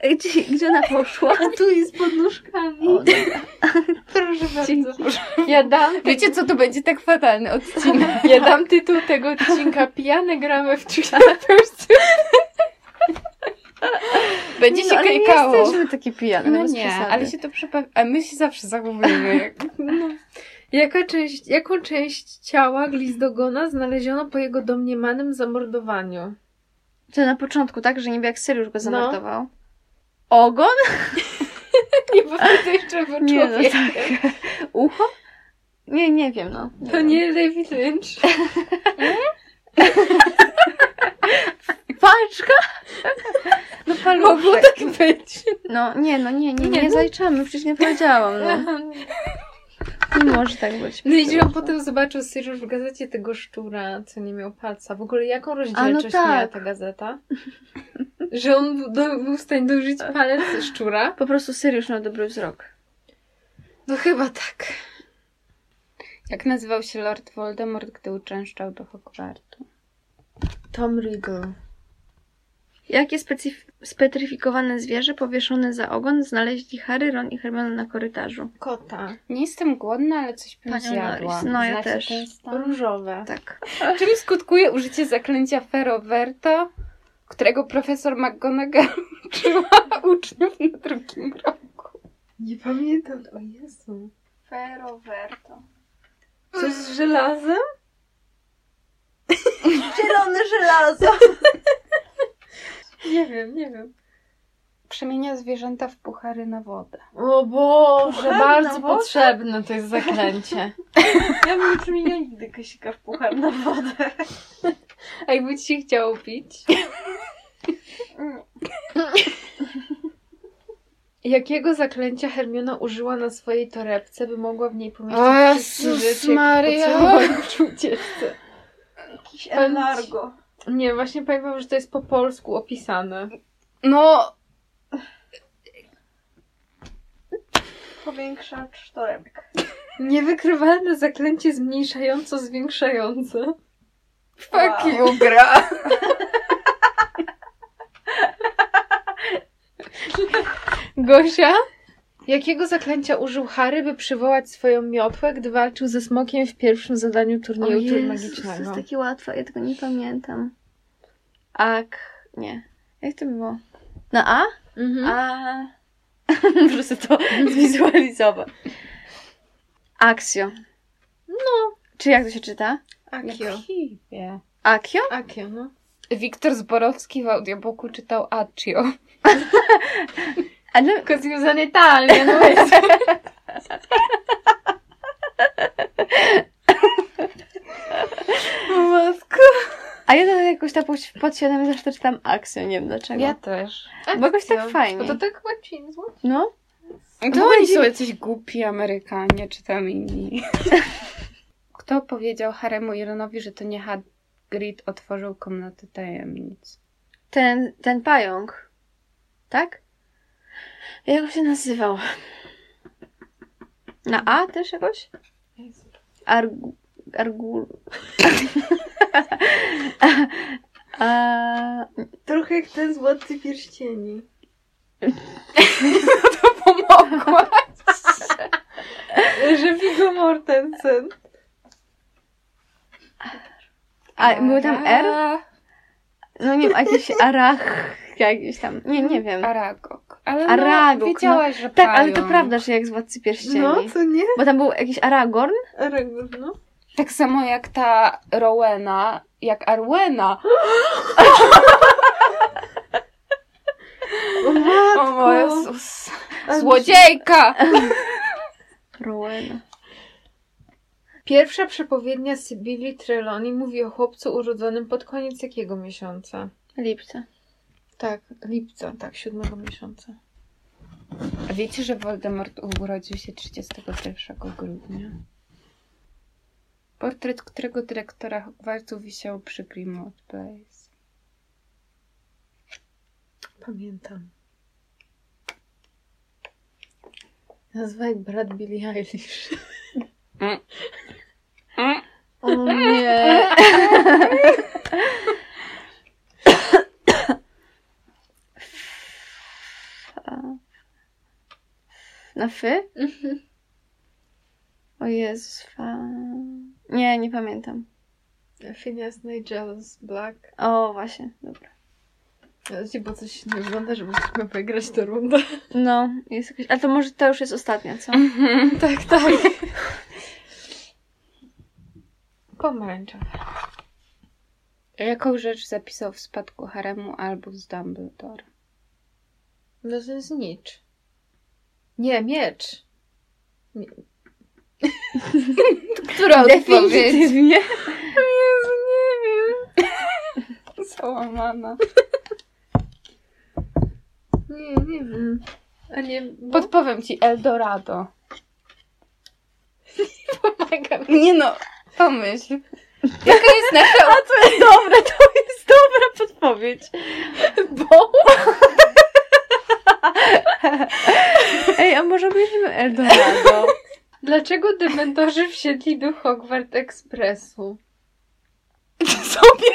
Speaker 2: Ej, Gdzie, gdzie ona poszła?
Speaker 4: A tu jest pod nóżkami.
Speaker 2: O,
Speaker 4: Proszę
Speaker 2: Dzięki.
Speaker 4: bardzo.
Speaker 1: Ja dam. Wiecie co, to będzie tak fatalny odcinek.
Speaker 4: Ja dam tytuł tego odcinka. Pijane gramy w Twitter First.
Speaker 1: Będzie się
Speaker 2: no, ale nie
Speaker 1: klikało.
Speaker 2: jesteśmy takie pijane.
Speaker 1: No
Speaker 2: bez
Speaker 1: nie,
Speaker 2: przesady.
Speaker 1: ale się to przypa... A my się zawsze zachowujemy. jak-
Speaker 4: Jaka część, jaką część ciała Glizdogona znaleziono po jego domniemanym zamordowaniu?
Speaker 2: To na początku, tak? Że niby jak Syriusz
Speaker 4: No.
Speaker 2: go zamordował. Ogon?
Speaker 4: Nie powtórzę jeszcze bo
Speaker 2: Nie, no
Speaker 4: człowiek.
Speaker 2: Ucho? Nie, nie wiem, no.
Speaker 4: To
Speaker 2: wiem.
Speaker 4: nie David (laughs) Lynch.
Speaker 2: Paczka!
Speaker 4: No
Speaker 2: Mogło
Speaker 4: tak być.
Speaker 2: No, nie, no nie, nie, nie,
Speaker 4: Nie, no.
Speaker 2: zaliczamy, przecież nie powiedziałam, no. Nie może tak być.
Speaker 4: No i on potem zobaczył Sirius w gazecie tego szczura, co nie miał palca. W ogóle jaką rozdzielczość
Speaker 2: tak.
Speaker 4: miała ta gazeta? Że on był- do, był w stanie dożyć palec szczura?
Speaker 2: Po prostu Syriusz miał dobry wzrok.
Speaker 4: No chyba tak.
Speaker 1: Jak nazywał się Lord Voldemort, gdy uczęszczał do Hogwartu?
Speaker 4: Tom Riddle.
Speaker 2: Jakie specyf- spetryfikowane zwierzę powieszone za ogon znaleźli Harry, Ron i Hermione na korytarzu?
Speaker 4: Kota.
Speaker 1: Nie jestem głodna, ale coś bym
Speaker 2: Panią
Speaker 1: zjadła.
Speaker 2: Norris. No, ja
Speaker 1: Znacie
Speaker 2: też.
Speaker 1: ten stan?
Speaker 4: Różowe.
Speaker 2: Tak.
Speaker 1: Czym skutkuje użycie zaklęcia Ferroverto, którego profesor McGonagall (laughs) uczyła uczniów na drugim roku?
Speaker 4: Nie pamiętam. O Jezu.
Speaker 2: Ferroverto.
Speaker 4: Coś z żelazem?
Speaker 2: Zielone żelazo!
Speaker 4: Nie wiem, nie wiem.
Speaker 1: Przemienia zwierzęta w puchary na wodę.
Speaker 4: O Boże,
Speaker 2: Puchar
Speaker 4: bardzo
Speaker 2: na wodę?
Speaker 4: potrzebne to jest zaklęcie.
Speaker 2: Ja bym nie przemieniła nigdy kasika w puchar (laughs) na wodę.
Speaker 4: A jakby ci się chciało pić? Jakiego zaklęcia Hermiona użyła na swojej torebce, by mogła w niej pomieścić
Speaker 1: O
Speaker 4: wszystkie
Speaker 1: Jezus
Speaker 4: rzeczy, jakie
Speaker 1: Maria!
Speaker 4: potrzebowała w ucieczce?
Speaker 2: Jakiś
Speaker 4: Elargo. Nie, właśnie pamiętam, że to jest po polsku opisane.
Speaker 1: No,
Speaker 5: powiększacz torebek.
Speaker 6: Niewykrywalne zaklęcie zmniejszająco-zwiększające.
Speaker 5: Fuck Wow.
Speaker 4: you, gra. Gosia? Jakiego zaklęcia użył Harry, by przywołać swoją miotłę, gdy walczył ze smokiem w pierwszym zadaniu
Speaker 2: O
Speaker 4: turnieju
Speaker 2: Jezus,
Speaker 4: Jezus,
Speaker 2: to
Speaker 4: magicznego?
Speaker 2: jest takie łatwe, ja tego nie pamiętam. Ak... nie. Jak to było? Na A? Hmm?
Speaker 4: Mhm.
Speaker 2: A. (laughs) Muszę sobie (laughs) to zwizualizować. Axio. No. Czy jak to się czyta?
Speaker 4: Akio.
Speaker 1: Kiwie.
Speaker 2: Akio?
Speaker 4: Akio, no.
Speaker 1: Wiktor Zborowski w audiobooku czytał Accio.
Speaker 2: Ale
Speaker 4: Tylko związane talnie, no jest. Matko.
Speaker 2: A ja to jakoś tam pod- podświadomie zawsze czytam Axio, nie wiem dlaczego.
Speaker 1: też.
Speaker 2: Bo jakoś tak fajnie.
Speaker 4: To tak łatwiej, złoty.
Speaker 2: No.
Speaker 1: To oni są jacyś głupi Amerykanie, czy tam inni. (laughs) Kto powiedział Haremu i Ronowi, że to nie Hagrid otworzył komnatę tajemnic?
Speaker 2: Ten, ten pająk. Tak? Jak on się nazywał? Na A też jakoś? Argu... Argu... A...
Speaker 5: Trochę jak ten z Władcy Pierścieni.
Speaker 1: Pomogła!
Speaker 5: Że Viggo Mortensen.
Speaker 2: A był tam R? No nie wiem, a jakiś Arach... Jakiś tam... Nie, nie wiem.
Speaker 1: Aragog. Ale
Speaker 2: Aragog,
Speaker 1: no, wiedziałaś, że
Speaker 2: Tak, ale to
Speaker 1: pająk.
Speaker 2: prawda, że jak z Władcy Pierścieni.
Speaker 5: No, co nie?
Speaker 2: Bo tam był jakiś Aragorn?
Speaker 5: Aragorn, no.
Speaker 1: Tak samo jak ta Rowena, jak Arwena.
Speaker 5: O matko!
Speaker 1: Jezus.
Speaker 5: Ale
Speaker 1: (laughs) Złodziejka!
Speaker 2: Rowena.
Speaker 4: Pierwsza przepowiednia Sybilli Trelawney mówi o chłopcu urodzonym pod koniec jakiego miesiąca?
Speaker 2: Lipca.
Speaker 4: Tak, lipca, tak, siódmego miesiąca.
Speaker 1: A wiecie, że Voldemort urodził się 31 grudnia? Portret którego dyrektora Hogwartsu wisiał przy Grimmauld Place.
Speaker 4: Pamiętam. Nazwaj brat Billie Eilish.
Speaker 2: O nie. Na fy? O Jezus, fa... Nie, nie pamiętam.
Speaker 4: Phineas Nigel Black.
Speaker 2: O, właśnie, dobra.
Speaker 4: Zobaczcie, bo coś się nie ogląda, żeby musimy wygrać tę rundę.
Speaker 2: No, jest jakaś... Ale to może to już jest ostatnia, co?
Speaker 4: tak, tak. Pomarańcza.
Speaker 1: Jaką rzecz zapisał w spadku haremu Albus Dumbledore?
Speaker 4: No to jest nicz. Nie, miecz. Nie.
Speaker 1: Która odpowiedź?
Speaker 2: Definitywnie.
Speaker 1: (laughs) Załamana.
Speaker 4: Nie, nie wiem. A nie, no.
Speaker 1: Podpowiem ci
Speaker 2: (laughs)
Speaker 1: Eldorado.
Speaker 4: pomaga mi.
Speaker 1: Nie no, pomyśl. Jaka jest nasza...
Speaker 2: A to jest dobre, to jest dobra podpowiedź. Bo... Ej, a może obejrzymy
Speaker 1: (laughs)
Speaker 2: Eldorado?
Speaker 4: Dlaczego dementorzy wsiedli do Hogwart Expressu?
Speaker 1: Sobie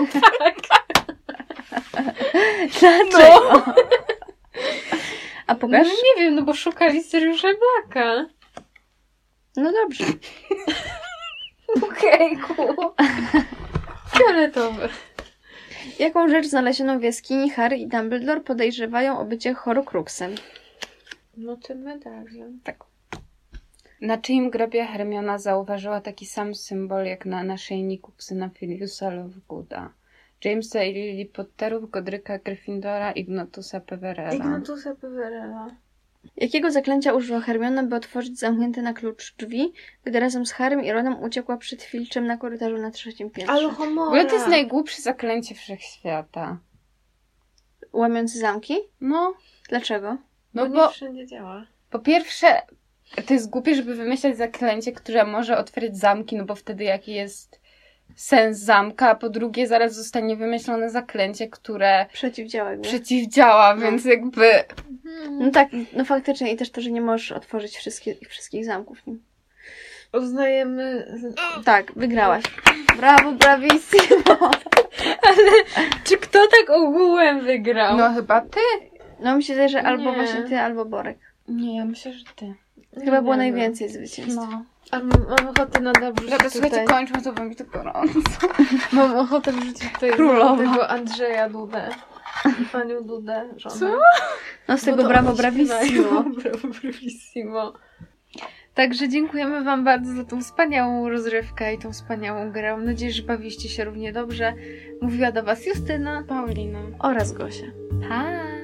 Speaker 2: Dlaczego? (laughs) A
Speaker 4: No
Speaker 2: pokaż?
Speaker 4: nie wiem, no bo szukali Seriusza Blacka.
Speaker 2: No (laughs) dobrze.
Speaker 4: Okejku. Fioletowy.
Speaker 2: Jaką rzecz znalezioną w jaskini Harry i Dumbledore podejrzewają o bycie Horcruxem?
Speaker 4: No ten medalion.
Speaker 1: Tak. Na czyim grobie Hermiona zauważyła taki sam symbol jak na naszyjniku Xenophiliusa Lovegood'a, Jamesa i Lily Potterów, Godryka Gryffindora, Ignotusa
Speaker 2: Tak.
Speaker 1: Peverella.
Speaker 5: Ignatusa Peverella.
Speaker 2: Jakiego zaklęcia użyła Hermiona, by otworzyć zamknięte na klucz drzwi, gdy razem z Harrym i Ronem uciekła przed filczem na korytarzu na trzecim piętrze?
Speaker 1: W
Speaker 5: Alohomora.
Speaker 1: ogóle to jest najgłupsze zaklęcie wszechświata.
Speaker 2: Łamiąc zamki?
Speaker 1: No,
Speaker 2: Dlaczego?
Speaker 1: no
Speaker 5: bo...
Speaker 1: bo
Speaker 5: Nie wszędzie działa.
Speaker 1: po pierwsze to jest głupie, żeby wymyślać zaklęcie, które może otworzyć zamki, no bo wtedy jaki jest sens zamka, a po drugie zaraz zostanie wymyślone zaklęcie, które
Speaker 2: Przeciwdziała jakby.
Speaker 1: przeciwdziała, więc jakby
Speaker 2: No tak, no faktycznie i też to, że nie możesz otworzyć wszystkich, wszystkich zamków. w nim.
Speaker 4: Uznajemy...
Speaker 2: Tak, wygrałaś. Brawo, brawissimo.
Speaker 7: Czy kto tak ogółem wygrał?
Speaker 1: no chyba ty.
Speaker 2: No mi się wydaje, że albo
Speaker 7: Nie.
Speaker 2: właśnie ty, albo Borek.
Speaker 1: Nie, ja myślę, że ty.
Speaker 2: Chyba było
Speaker 4: Nie wiem.
Speaker 2: najwięcej zwycięstw.
Speaker 1: No.
Speaker 4: A m- mam ochotę na dobrze
Speaker 1: Dobra, słuchajcie,
Speaker 4: tutaj.
Speaker 1: kończmy, to będzie to gorąco.
Speaker 4: Mam ochotę wrzucić tutaj
Speaker 2: Królowa.
Speaker 4: tego Andrzeja Dudę. I Panią Dudę, żonę.
Speaker 1: Co?
Speaker 2: No z tego brawo, brawissimo.
Speaker 4: (laughs) Brawo, brawissimo.
Speaker 8: Także dziękujemy Wam bardzo za tą wspaniałą rozrywkę i tą wspaniałą grę. Mam nadzieję, że bawiliście się równie dobrze. Mówiła do Was Justyna.
Speaker 1: Paulina.
Speaker 2: Oraz Gosia.
Speaker 8: Pa!